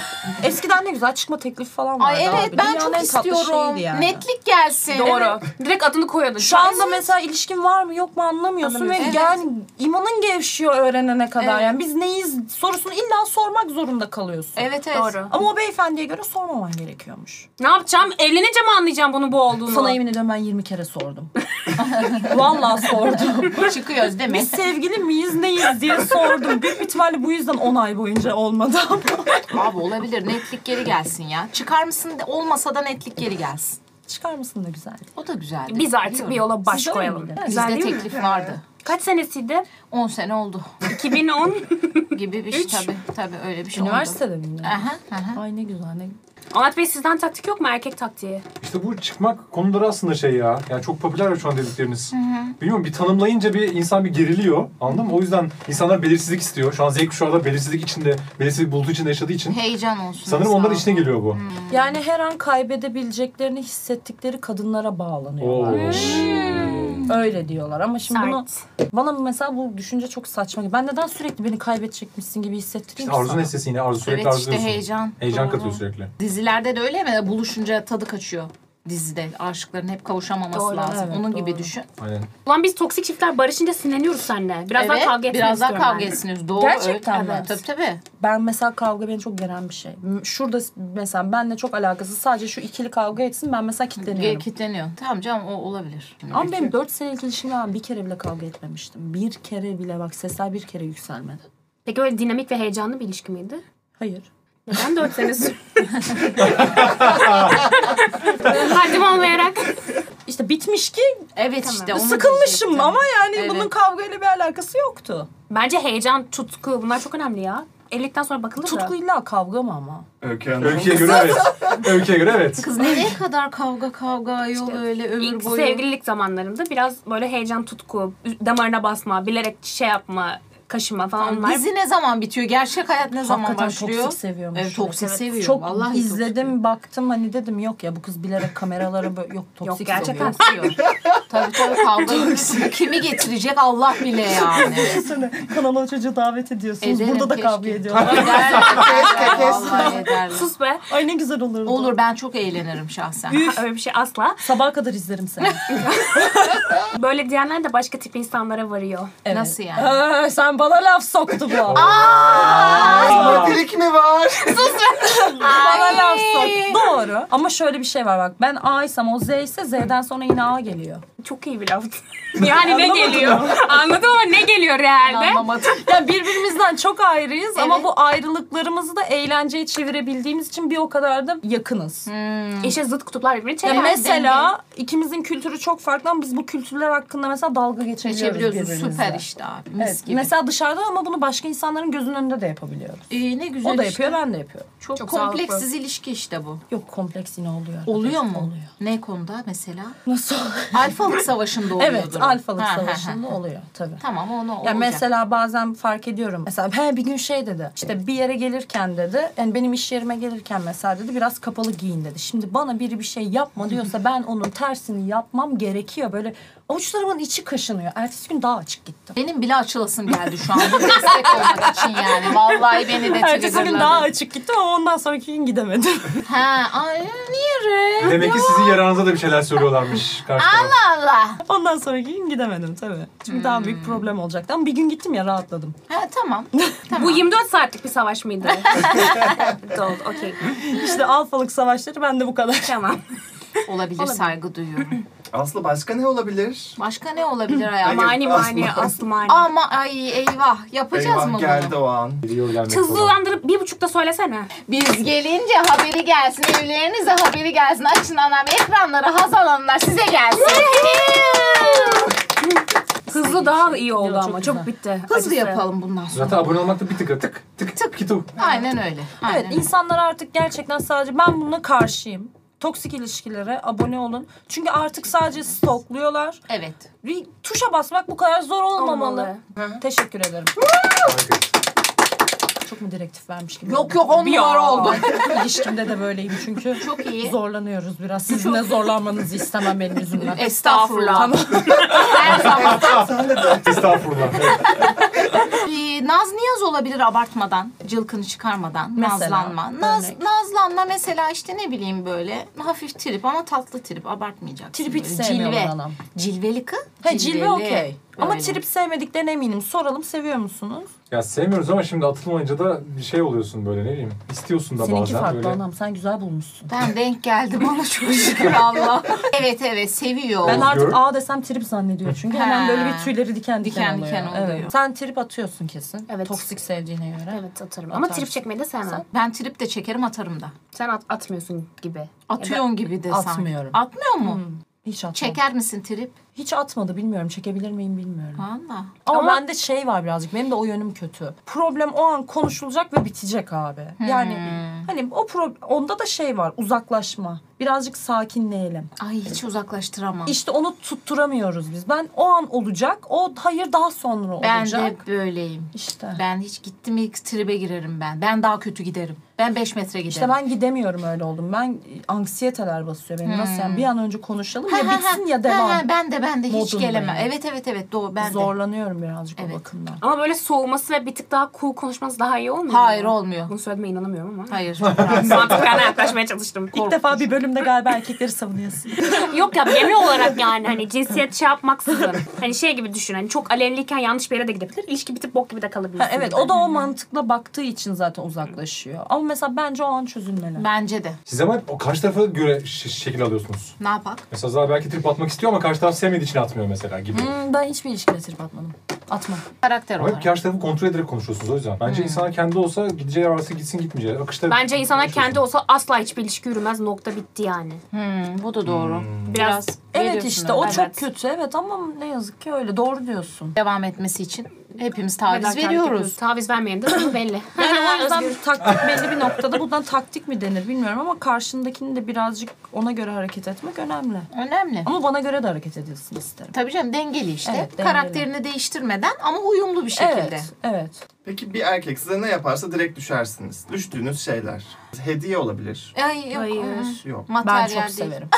Speaker 3: Eskiden ne güzel çıkma teklifi falan vardı.
Speaker 6: Ay evet
Speaker 3: abi.
Speaker 6: ben
Speaker 3: Dünyanın
Speaker 6: çok
Speaker 3: en tatlı
Speaker 6: istiyorum.
Speaker 3: şeyiydi yani.
Speaker 6: Netlik gelsin.
Speaker 4: Doğru. Direkt adını koyalım.
Speaker 3: Şu anda mesela ilişkin var mı yok mu anlamıyorsun ve
Speaker 6: Anlamıyorsun.
Speaker 3: yani imanın gevşiyor öğrenene kadar.
Speaker 6: Evet.
Speaker 3: Yani biz neyiz sorusunu illa sormak zorunda kalıyorsun.
Speaker 6: Evet evet.
Speaker 4: Doğru.
Speaker 3: Ama o beyefendiye göre sormaman gerekiyormuş.
Speaker 4: Ne yapacağım? Evlenince mi anlayacağım bunun bu olduğunu?
Speaker 3: Sana yemin ediyorum ben 20 kere sordum. [laughs] Vallahi sordum.
Speaker 6: [laughs] Çıkıyoruz değil mi?
Speaker 3: Biz sevgili miyiz neyiz diye sordum. Büyük ihtimalle bu yüzden 10 ay boyunca olmadı ama.
Speaker 6: Abi olabilir netlik geri gelsin ya. Çıkar mısın de- olmasa da netlik geri gelsin.
Speaker 3: Çıkar mısın da güzel.
Speaker 6: O da güzeldi.
Speaker 4: Biz artık bir yola baş
Speaker 3: Sizde öyle
Speaker 4: koyalım.
Speaker 3: miydi?
Speaker 4: Güzel
Speaker 6: Bizde
Speaker 4: değil mi?
Speaker 6: teklif vardı.
Speaker 4: Kaç senesiydi?
Speaker 6: 10 sene oldu
Speaker 4: 2010.
Speaker 6: gibi bir şey tabii. Tabii öyle bir şey oldu.
Speaker 3: Üniversitede mi?
Speaker 6: Aha, aha.
Speaker 3: Ay ne güzel ne
Speaker 4: Anlat Bey sizden taktik yok mu erkek taktiği?
Speaker 7: İşte bu çıkmak konuları aslında şey ya. Yani çok popüler ya şu an dedikleriniz. Bilmiyorum bir tanımlayınca bir insan bir geriliyor. Anladın mı? O yüzden insanlar belirsizlik istiyor. Şu an Z kuşağı da belirsizlik içinde, belirsizlik bulutu içinde yaşadığı için.
Speaker 6: Heyecan olsun.
Speaker 7: Sanırım
Speaker 6: sağ
Speaker 7: onların
Speaker 6: ol.
Speaker 7: içine geliyor bu.
Speaker 6: Hmm.
Speaker 3: Yani her an kaybedebileceklerini hissettikleri kadınlara bağlanıyorlar.
Speaker 7: Oo.
Speaker 3: Öyle diyorlar ama şimdi
Speaker 4: Sert.
Speaker 3: bunu bana mesela bu düşünce çok saçma. gibi. Ben neden sürekli beni kaybedecekmişsin gibi hissettireyim
Speaker 7: İşte
Speaker 3: ki
Speaker 7: arzu
Speaker 3: sana?
Speaker 7: nesnesi yine arzu sürekli
Speaker 6: Evet
Speaker 7: arzu
Speaker 6: işte
Speaker 7: ediyorsun.
Speaker 6: heyecan.
Speaker 7: Heyecan katıyor sürekli.
Speaker 6: Dizilerde de öyle mi? Buluşunca tadı kaçıyor dizide. Aşıkların hep kavuşamaması
Speaker 4: Doğru,
Speaker 6: lazım.
Speaker 3: evet,
Speaker 6: Onun gibi
Speaker 3: doğru.
Speaker 6: düşün.
Speaker 7: Aynen.
Speaker 4: Ulan biz toksik çiftler barışınca sinirleniyoruz seninle. Biraz daha
Speaker 6: evet,
Speaker 4: kavga etmek
Speaker 6: biraz daha
Speaker 4: istiyorum
Speaker 6: kavga
Speaker 4: ben.
Speaker 6: etsiniz. Doğru.
Speaker 3: Gerçekten
Speaker 6: evet.
Speaker 3: mi?
Speaker 6: Evet, Tabii tabii.
Speaker 3: Ben mesela kavga beni çok geren bir şey. M- Şurada s- mesela benle çok alakası sadece şu ikili kavga etsin ben mesela
Speaker 6: Ge-
Speaker 3: kitleniyorum.
Speaker 6: Kitleniyor. Tamam canım o olabilir.
Speaker 3: Ama benim 4 senelik ilişkimde ben bir kere bile kavga etmemiştim. Bir kere bile bak sesler bir kere yükselmedi.
Speaker 4: Peki öyle dinamik ve heyecanlı bir ilişki miydi?
Speaker 3: Hayır.
Speaker 4: Neden dört sene sürdü? [laughs] Haddim olmayarak.
Speaker 3: İşte bitmiş ki
Speaker 2: Evet işte. onu
Speaker 3: sıkılmışım
Speaker 2: diyecektim.
Speaker 3: ama yani
Speaker 2: Evet.
Speaker 3: bunun kavgayla bir alakası yoktu.
Speaker 4: Bence heyecan, tutku bunlar çok önemli ya. Evlilikten sonra bakılır da.
Speaker 3: Tutku illa kavga mı ama?
Speaker 5: Öykü Hanım.
Speaker 7: Öykü'ye göre
Speaker 6: [laughs]
Speaker 7: evet. Öykü'ye göre evet.
Speaker 2: Kız nereye kadar kavga kavga yol öyle ömür
Speaker 4: İlk
Speaker 2: boyu.
Speaker 4: sevgililik zamanlarımda biraz böyle heyecan, tutku, damarına basma, bilerek şey yapma, kaşıma falan onlar.
Speaker 6: Dizi ne zaman bitiyor? Gerçek hayat ne zaman
Speaker 3: Hakikaten
Speaker 6: başlıyor?
Speaker 3: toksik seviyormuş.
Speaker 6: Evet, toksik seviyor.
Speaker 3: Çok
Speaker 6: Vallahi
Speaker 3: izledim baktım hani dedim yok ya bu kız bilerek kameralara böyle yok toksik
Speaker 4: Yok gerçekten
Speaker 3: seviyor.
Speaker 4: seviyor.
Speaker 6: Tabii tabii kavga yürütüyor. Kimi getirecek Allah bile yani.
Speaker 3: [laughs] Kanala o çocuğu davet ediyorsunuz.
Speaker 6: Ederim,
Speaker 3: Burada da
Speaker 6: keşke.
Speaker 3: kavga ediyorlar.
Speaker 6: Ederler, ederler,
Speaker 5: kes.
Speaker 6: vallahi ederler.
Speaker 4: Sus be.
Speaker 3: Ay ne güzel olurdu.
Speaker 6: Olur ben çok eğlenirim şahsen.
Speaker 4: Ha, [laughs] Öyle bir şey asla.
Speaker 3: Sabaha kadar izlerim seni.
Speaker 4: Böyle diyenler de başka tip insanlara varıyor.
Speaker 3: Evet.
Speaker 6: [laughs] Nasıl yani?
Speaker 3: Ee, sen bana laf soktu bu.
Speaker 5: Monopilik mi var?
Speaker 3: bana laf soktu. Doğru. Ama şöyle bir şey var bak. Ben A'ysam o Z ise Z'den sonra yine A geliyor.
Speaker 4: Çok iyi bir laf. [laughs] yani ne geliyor? Anladın mı? Ne geliyor realde?
Speaker 6: Anlamadım.
Speaker 3: Yani birbirimizden çok ayrıyız ama bu ayrılıklarımızı da eğlenceye çevirebildiğimiz için bir o kadar da yakınız.
Speaker 6: Hmm.
Speaker 4: İşte zıt kutuplar birbirini
Speaker 3: Ya
Speaker 4: çeker.
Speaker 3: mesela ikimizin kültürü çok farklı ama biz bu kültürler hakkında mesela dalga geçebiliyoruz
Speaker 6: Geçebiliyorsun
Speaker 3: birbirimizle.
Speaker 6: süper işte abi. Mis
Speaker 3: Evet,
Speaker 6: gibi.
Speaker 3: Mesela dışarıda ama bunu başka insanların gözünün önünde de yapabiliyoruz.
Speaker 6: İyi, Ee, ne güzel
Speaker 3: O da
Speaker 6: işte.
Speaker 3: yapıyor, ben de yapıyorum.
Speaker 6: Çok,
Speaker 4: sağlıklı.
Speaker 6: kompleksiz ilişki işte bu.
Speaker 3: Yok kompleks yine oluyor. arada.
Speaker 6: Oluyor mu?
Speaker 3: Oluyor.
Speaker 6: Ne konuda mesela?
Speaker 3: Nasıl?
Speaker 6: Alfalık savaşında oluyor
Speaker 3: evet,
Speaker 6: durum.
Speaker 3: alfalık
Speaker 6: Ha, ha, ha.
Speaker 3: savaşında oluyor tabii.
Speaker 6: Tamam onu olacak.
Speaker 3: Ya mesela bazen fark ediyorum. Mesela he, bir gün şey dedi. İşte bir yere gelirken dedi. Yani benim iş yerime gelirken mesela dedi biraz kapalı giyin dedi. Şimdi bana biri bir şey yapma diyorsa
Speaker 6: [laughs]
Speaker 3: ben onun tersini yapmam gerekiyor. Böyle avuçlarımın içi kaşınıyor. Ertesi gün daha açık gittim.
Speaker 6: Benim bile açılasım geldi şu an. Bu destek olmak için yani. Vallahi beni de
Speaker 3: Ertesi gün
Speaker 6: triggerladı.
Speaker 3: daha açık gittim ama ondan sonraki gün gidemedim. [laughs]
Speaker 6: Ha, ay, niye re?
Speaker 7: Demek ki sizin yaranıza da bir şeyler söylüyorlarmış karşı taraf.
Speaker 6: Allah.
Speaker 3: ondan sonraki gün gidemedim tabii. Çünkü daha
Speaker 6: Hmm.
Speaker 3: büyük problem olacaktı ama bir gün gittim ya rahatladım.
Speaker 6: Ha, tamam.
Speaker 4: Bu 24 saatlik bir savaş mıydı? Doldu. Okey.
Speaker 3: İşte alfalık savaşları bende bu kadar.
Speaker 4: Tamam.
Speaker 6: Olabilir,
Speaker 3: [laughs]
Speaker 6: saygı duyuyorum.
Speaker 5: Aslı başka ne olabilir?
Speaker 6: Başka ne olabilir hayatım?
Speaker 4: [laughs] Mani mani aslı mani.
Speaker 6: Ama ay eyvah yapacağız
Speaker 5: Eyvah
Speaker 6: mı
Speaker 5: geldi
Speaker 6: bunu?
Speaker 5: o an.
Speaker 7: Geliyor gelmek falan.
Speaker 4: Hızlandırıp bir buçukta söylesene.
Speaker 6: Biz gelince haberi gelsin evlerinize haberi gelsin açın anam ekranları Hazal Hanımlar size gelsin.
Speaker 4: Hızlı daha iyi oldu ama.
Speaker 3: çok
Speaker 4: Çok bitti.
Speaker 6: Hızlı
Speaker 4: Acısı.
Speaker 6: yapalım bundan sonra.
Speaker 7: Zaten abone olmakta bir tık tık tık tık tık tık.
Speaker 6: Aynen öyle. Aynen
Speaker 3: Evet insanlar artık gerçekten sadece ben bununla karşıyım. Toksik ilişkilere abone olun. Çünkü artık sadece stokluyorlar.
Speaker 6: Evet.
Speaker 3: Bir Tuşa basmak bu kadar zor olmamalı.
Speaker 4: Olmamalı.
Speaker 3: Teşekkür ederim. Çok mu direktif vermiş gibi?
Speaker 6: Yok yok on numara oldu.
Speaker 3: İlişkimde de böyleyim çünkü.
Speaker 6: [laughs] Çok iyi.
Speaker 3: Zorlanıyoruz biraz. Sizin de zorlanmanızı istemem benim yüzümden.
Speaker 6: Estağfurullah. Her zaman. [laughs]
Speaker 7: Estağfurullah. Evet.
Speaker 6: Ee, Naz niyaz olabilir abartmadan, cılkını çıkarmadan,
Speaker 3: Mesela,
Speaker 6: nazlanma. Naz,
Speaker 3: örnek.
Speaker 6: nazlanma mesela işte ne bileyim böyle hafif trip ama tatlı trip abartmayacaksın.
Speaker 3: Trip hiç
Speaker 6: Böyle
Speaker 3: sevmiyorum
Speaker 6: Cilve.
Speaker 3: anam.
Speaker 6: Cilveli kız.
Speaker 3: He cilve okey. Ama
Speaker 6: Böyle.
Speaker 3: trip sevmediklerine eminim. Soralım seviyor musunuz?
Speaker 7: Ya sevmiyoruz ama şimdi atılmayınca da bir şey oluyorsun böyle ne bileyim. İstiyorsun da
Speaker 3: Seninki
Speaker 7: bazen
Speaker 3: farklı
Speaker 7: böyle.
Speaker 3: anam. Sen güzel bulmuşsun.
Speaker 6: Ben denk geldim ona
Speaker 3: [laughs]
Speaker 6: çok şükür Allah. evet evet seviyor.
Speaker 3: Ben
Speaker 7: Özgür.
Speaker 3: artık A desem trip zannediyor çünkü hemen
Speaker 6: Ha.
Speaker 3: böyle bir tüyleri diken diken,
Speaker 6: Diken
Speaker 3: oluyor.
Speaker 6: diken oluyor.
Speaker 3: Evet. Sen trip atıyorsun kesin.
Speaker 4: Evet.
Speaker 3: Toksik sevdiğine göre.
Speaker 4: Evet atarım. Ama trip çekmeyi de sevmem.
Speaker 6: Ben trip de çekerim atarım da.
Speaker 4: Sen at- atmıyorsun gibi.
Speaker 6: Atıyorum gibi de sanki.
Speaker 3: atmıyorum. Hmm.
Speaker 6: Atmıyor mu?
Speaker 3: Hiç atmadı.
Speaker 6: Çeker misin trip?
Speaker 3: Hiç atmadı bilmiyorum. Çekebilir miyim bilmiyorum.
Speaker 6: Valla.
Speaker 3: Ama, bende şey var birazcık. Benim de o yönüm kötü. Problem o an konuşulacak ve bitecek abi. Yani hani o problem onda da şey var. Uzaklaşma. Birazcık sakinleyelim.
Speaker 6: Ay hiç uzaklaştıramam.
Speaker 3: İşte onu tutturamıyoruz biz. Ben o an olacak. O hayır daha sonra
Speaker 6: ben
Speaker 3: olacak.
Speaker 6: de böyleyim.
Speaker 3: işte.
Speaker 6: Ben hiç gittim ilk tribe girerim ben. Ben daha kötü giderim. Ben 5 metre giderim.
Speaker 3: İşte ben gidemiyorum öyle oldum. Ben e, anksiyeteler basıyor beni. Nasıl yani bir an önce konuşalım
Speaker 6: Ha,
Speaker 3: ya
Speaker 6: ha, ha.
Speaker 3: bitsin ya
Speaker 6: Ha,
Speaker 3: devam.
Speaker 6: ha, ben de ben de hiç
Speaker 3: Modundayım.
Speaker 6: gelemem. Evet evet evet doğru ben de.
Speaker 3: Zorlanıyorum birazcık o
Speaker 6: Evet.
Speaker 3: bakımdan.
Speaker 4: Ama böyle soğuması ve bir tık daha cool konuşmanız daha iyi olmuyor mu?
Speaker 6: Hayır olmuyor.
Speaker 4: Bunu söylediğime inanamıyorum ama.
Speaker 3: [laughs]
Speaker 6: Hayır. çok rahatsız.
Speaker 4: Mantıklarına yaklaşmaya çalıştım.
Speaker 3: İlk defa bir bölümde galiba erkekleri savunuyorsun.
Speaker 4: Yok [laughs] ya genel olarak yani hani cinsiyet şey yapmaksızın. Hani şey gibi düşün hani çok alevliyken yanlış bir yere de gidebilir. İlişki bitip bok gibi de kalabilir.
Speaker 3: Ha, [laughs] evet o da o mantıkla baktığı için zaten uzaklaşıyor. Ama mesela bence o an çözülmeli.
Speaker 6: Bence de.
Speaker 7: Siz ama o karşı tarafa göre ş- şekil alıyorsunuz.
Speaker 6: Ne yapak?
Speaker 7: Mesela Zara belki trip atmak istiyor ama karşı taraf sevmediği için atmıyor mesela gibi.
Speaker 3: Hmm, ben hiçbir ilişkide trip atmadım. Atma.
Speaker 6: Karakter
Speaker 7: Ama hep
Speaker 6: olarak.
Speaker 7: karşı tarafı kontrol ederek konuşuyorsunuz o yüzden. Bence insanlar kendi olsa gideceği yer varsa gitsin gitmeyeceği. Akışta
Speaker 4: Bence insanlar
Speaker 7: konuşuyorsun.
Speaker 4: kendi olsa asla hiçbir ilişki yürümez. Nokta bitti yani.
Speaker 6: Hmm, bu da doğru.
Speaker 4: Biraz,
Speaker 3: Evet
Speaker 6: Veriyorsun
Speaker 3: işte
Speaker 6: ama,
Speaker 3: o
Speaker 4: evet.
Speaker 3: çok kötü evet ama ne yazık ki öyle doğru diyorsun.
Speaker 6: Devam etmesi için hepimiz taviz
Speaker 4: fedakarlık
Speaker 6: veriyoruz.
Speaker 4: yapıyoruz. Taviz vermeyelim de sonu belli.
Speaker 3: Yani
Speaker 4: [laughs]
Speaker 3: o
Speaker 4: Özgür.
Speaker 3: yüzden [laughs] taktik belli bir noktada bundan taktik mi denir bilmiyorum ama karşındakini de birazcık ona göre hareket etmek önemli.
Speaker 6: Önemli.
Speaker 3: Ama bana göre de hareket edilsin isterim.
Speaker 6: Tabii canım dengeli işte.
Speaker 3: Evet, dengeli.
Speaker 6: Karakterini değiştirmeden ama uyumlu bir şekilde.
Speaker 3: Evet, evet.
Speaker 5: Peki bir erkek size ne yaparsa direkt düşersiniz. Düştüğünüz şeyler. Hediye olabilir.
Speaker 6: Ay yok.
Speaker 4: Hayır.
Speaker 5: Yok.
Speaker 6: Materyal
Speaker 3: Ben çok
Speaker 6: değil.
Speaker 3: severim.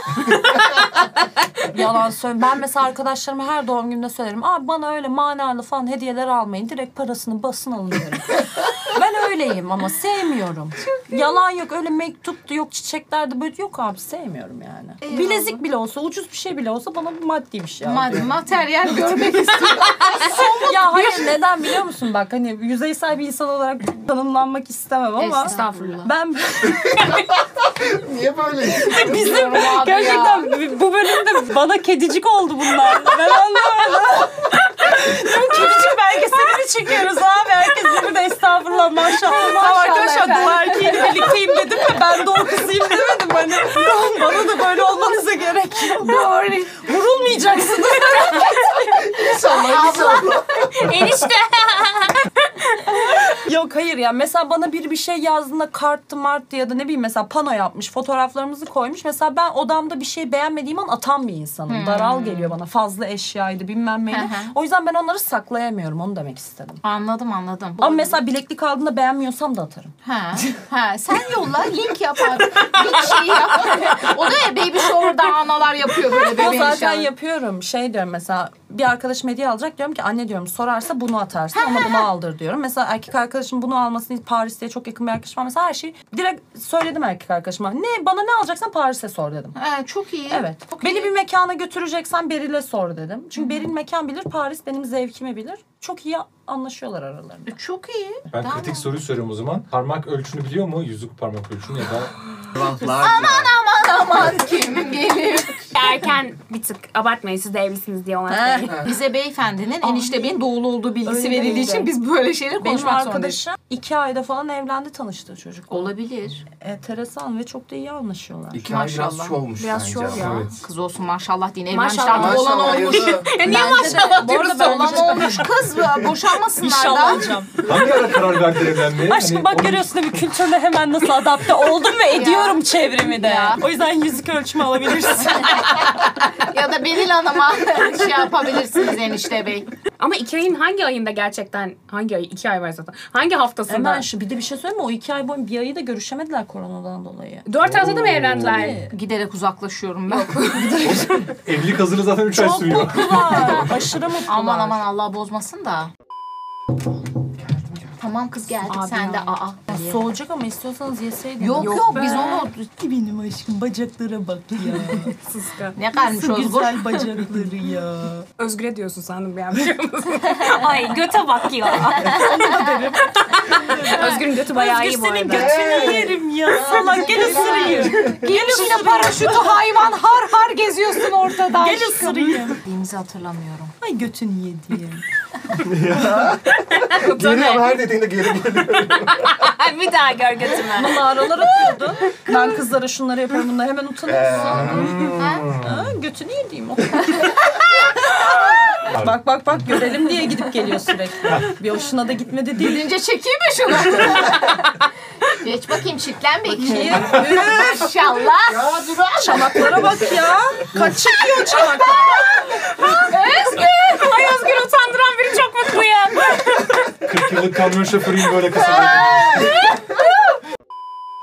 Speaker 3: [laughs] Yalan söyle. Ben mesela arkadaşlarıma her doğum gününde söylerim. Abi bana öyle manalı falan hediyeler almayın. Direkt parasını basın alın derim. [laughs] ben öyleyim ama sevmiyorum. Yalan yok. Öyle mektuptu yok çiçeklerdi böyle yok abi sevmiyorum yani. Bilezik bile olsa ucuz bir şey bile olsa bana maddi bir şey al.
Speaker 6: Ma- materyal görmek istiyorum.
Speaker 3: ya hayır neden biliyor musun bak hani yüzeysel bir insan olarak tanımlanmak istemem ama. [laughs]
Speaker 4: Estağfurullah.
Speaker 3: Ben
Speaker 5: Niye [laughs] böyle?
Speaker 3: bizim gerçekten bu bölümde bana kedicik oldu bunlar. Ben anlamadım. Bizim kedicik belgeselini çekiyoruz abi. Herkes birbirine estağfurullah maşallah. Tamam arkadaşlar
Speaker 6: efendim.
Speaker 3: dul erkeğiyle birlikteyim dedim ve ben dul kızıyım demedim. Hani "Lan bana da böyle olmanıza gerek yok. Doğru. Vurulmayacaksınız.
Speaker 5: İnşallah inşallah.
Speaker 4: Enişte.
Speaker 3: yok hayır ya. Mesela bana biri bir şey yazdığında karttı marttı ya da ne bileyim mesela pano yapmış. Fotoğraflarımızı koymuş. Mesela ben odamda bir şey beğenmediğim an atan bir insanım. Daral geliyor bana. Fazla eşyaydı bilmem neydi. o yüzden ben onları saklayamıyorum. Onu demek istedim.
Speaker 6: Anladım anladım.
Speaker 3: Ama mesela bileklik aldığında beğenmiyorsam da atarım.
Speaker 6: Ha, ha. Sen yolla link yapar. Link şeyi [laughs] yapar. O da ya baby shower'da analar yapıyor böyle
Speaker 3: O
Speaker 6: bebeğin
Speaker 3: zaten
Speaker 6: şahı.
Speaker 3: yapıyorum. Şey diyorum mesela bir arkadaşım hediye alacak diyorum ki anne diyorum sorarsa bunu atarsın ama bunu aldır diyorum. Mesela erkek arkadaşım bunu almasını Paris'te çok yakın bir arkadaşım var. Mesela her şeyi direkt söyledim erkek arkadaşıma. Ne bana ne alacaksan Paris'e sor dedim.
Speaker 6: Ha, çok iyi.
Speaker 3: Evet.
Speaker 6: Çok
Speaker 3: Beni
Speaker 6: iyi.
Speaker 3: bir mekana götüreceksen Beril'e sor dedim. Çünkü Beril mekan bilir, Paris benim zevkimi bilir. Çok iyi anlaşıyorlar aralarında.
Speaker 6: Çok iyi.
Speaker 7: Ben
Speaker 6: Daha
Speaker 7: kritik
Speaker 6: mı?
Speaker 7: soruyu soruyorum o zaman. Parmak ölçünü biliyor mu? Yüzük parmak ölçünü ya da...
Speaker 5: Aman
Speaker 6: Aman kim gelir.
Speaker 4: Erken bir tık abartmayın siz de evlisiniz diye ona.
Speaker 3: Ha.
Speaker 6: Bize beyefendinin enişte benim doğulu olduğu bilgisi
Speaker 3: Öyle
Speaker 6: verildiği
Speaker 3: miydi?
Speaker 6: için biz böyle şeyler
Speaker 3: Benim
Speaker 6: konuşmak zorundayız.
Speaker 3: arkadaşım iki ayda falan evlendi tanıştığı çocuk.
Speaker 6: Olabilir.
Speaker 3: Enteresan ve çok da iyi anlaşıyorlar.
Speaker 5: İki ay biraz
Speaker 6: Maşallah.
Speaker 5: şovmuş
Speaker 4: Biraz
Speaker 5: bence.
Speaker 4: şov
Speaker 5: ama.
Speaker 4: ya.
Speaker 7: Evet.
Speaker 6: Kız olsun maşallah deyin. Evlenmişler
Speaker 4: Maşallah.
Speaker 6: ama olan
Speaker 5: Maşallah
Speaker 6: olmuş.
Speaker 5: yazı.
Speaker 4: Ya niye maşallah
Speaker 6: Bu arada
Speaker 4: diyoruz
Speaker 6: olan olmuş kız ıı, boşanmasınlar da.
Speaker 3: alacağım.
Speaker 7: Hangi ara karar verdin evlenmeye?
Speaker 3: Aşkım
Speaker 7: Hani
Speaker 3: bak
Speaker 7: onun-
Speaker 3: görüyorsun değil mi kültürle hemen nasıl adapte oldum
Speaker 6: [laughs]
Speaker 3: ve ediyorum çevremi de.
Speaker 6: Ya.
Speaker 3: O yüzden yüzük ölçümü
Speaker 6: [laughs]
Speaker 3: alabilirsin.
Speaker 6: Ya da Beril Hanım'a şey yapabilirsiniz enişte bey.
Speaker 4: Ama iki ayın hangi ayında gerçekten hangi ay? iki ay var zaten. Hangi haftasında?
Speaker 3: hemen şu bir de bir şey söyleyeyim mi? O iki ay boyunca bir ayı da görüşemediler koronadan dolayı.
Speaker 4: Dört haftada mı evlendiler?
Speaker 6: Giderek uzaklaşıyorum ben.
Speaker 7: Evlilik hazırı zaten 3 ay
Speaker 3: Çok
Speaker 7: sürüyor.
Speaker 3: mutlular. Aşırı mutlular.
Speaker 6: aman aman Allah bozmasın da. Tamam kız geldik
Speaker 4: Abi
Speaker 6: sen de
Speaker 4: ya.
Speaker 6: aa.
Speaker 3: Soğuyacak ama istiyorsanız yeseydiniz.
Speaker 6: Yok yok, biz onu
Speaker 3: Benim aşkım bacaklara bak [laughs] ya.
Speaker 4: Sıska.
Speaker 6: ne kalmış Özgür?
Speaker 3: bacakları [laughs] ya.
Speaker 4: Özgür'e diyorsun sandım bir an. Ay göte bak ya. Özgür'ün götü bayağı iyi bu
Speaker 3: senin
Speaker 4: arada.
Speaker 3: götünü yerim ya. Salak gel ısırayım.
Speaker 6: Gel şimdi paraşütü hayvan har har geziyorsun ortada.
Speaker 3: Gel ısırayım.
Speaker 6: Denizi hatırlamıyorum.
Speaker 3: Ay götün yedi.
Speaker 5: Geliyorum her
Speaker 4: [laughs]
Speaker 5: dediğinde geri geliyor.
Speaker 4: bir daha gör götümü.
Speaker 3: Bana aralar atıyordun. ben kızlara şunları yapıyorum bunları hemen
Speaker 5: Ee,
Speaker 6: [laughs]
Speaker 3: utanıyorsun.
Speaker 6: Hmm.
Speaker 3: Ha, götünü yediğim o. bak bak bak görelim diye gidip geliyor sürekli. Bir hoşuna da gitmedi değil.
Speaker 6: Gidince çekeyim mi şunu? [laughs] Geç bakayım çitlen
Speaker 3: Ki,
Speaker 6: bekliyor. Maşallah. Ya
Speaker 3: Çanaklara bak ya. Kaç çekiyor çanaklar.
Speaker 4: Ay Özgür utandıran biri çok mutluyum.
Speaker 7: 40 yıllık kamyon şoförüyüm
Speaker 3: [laughs]
Speaker 7: böyle kasabada.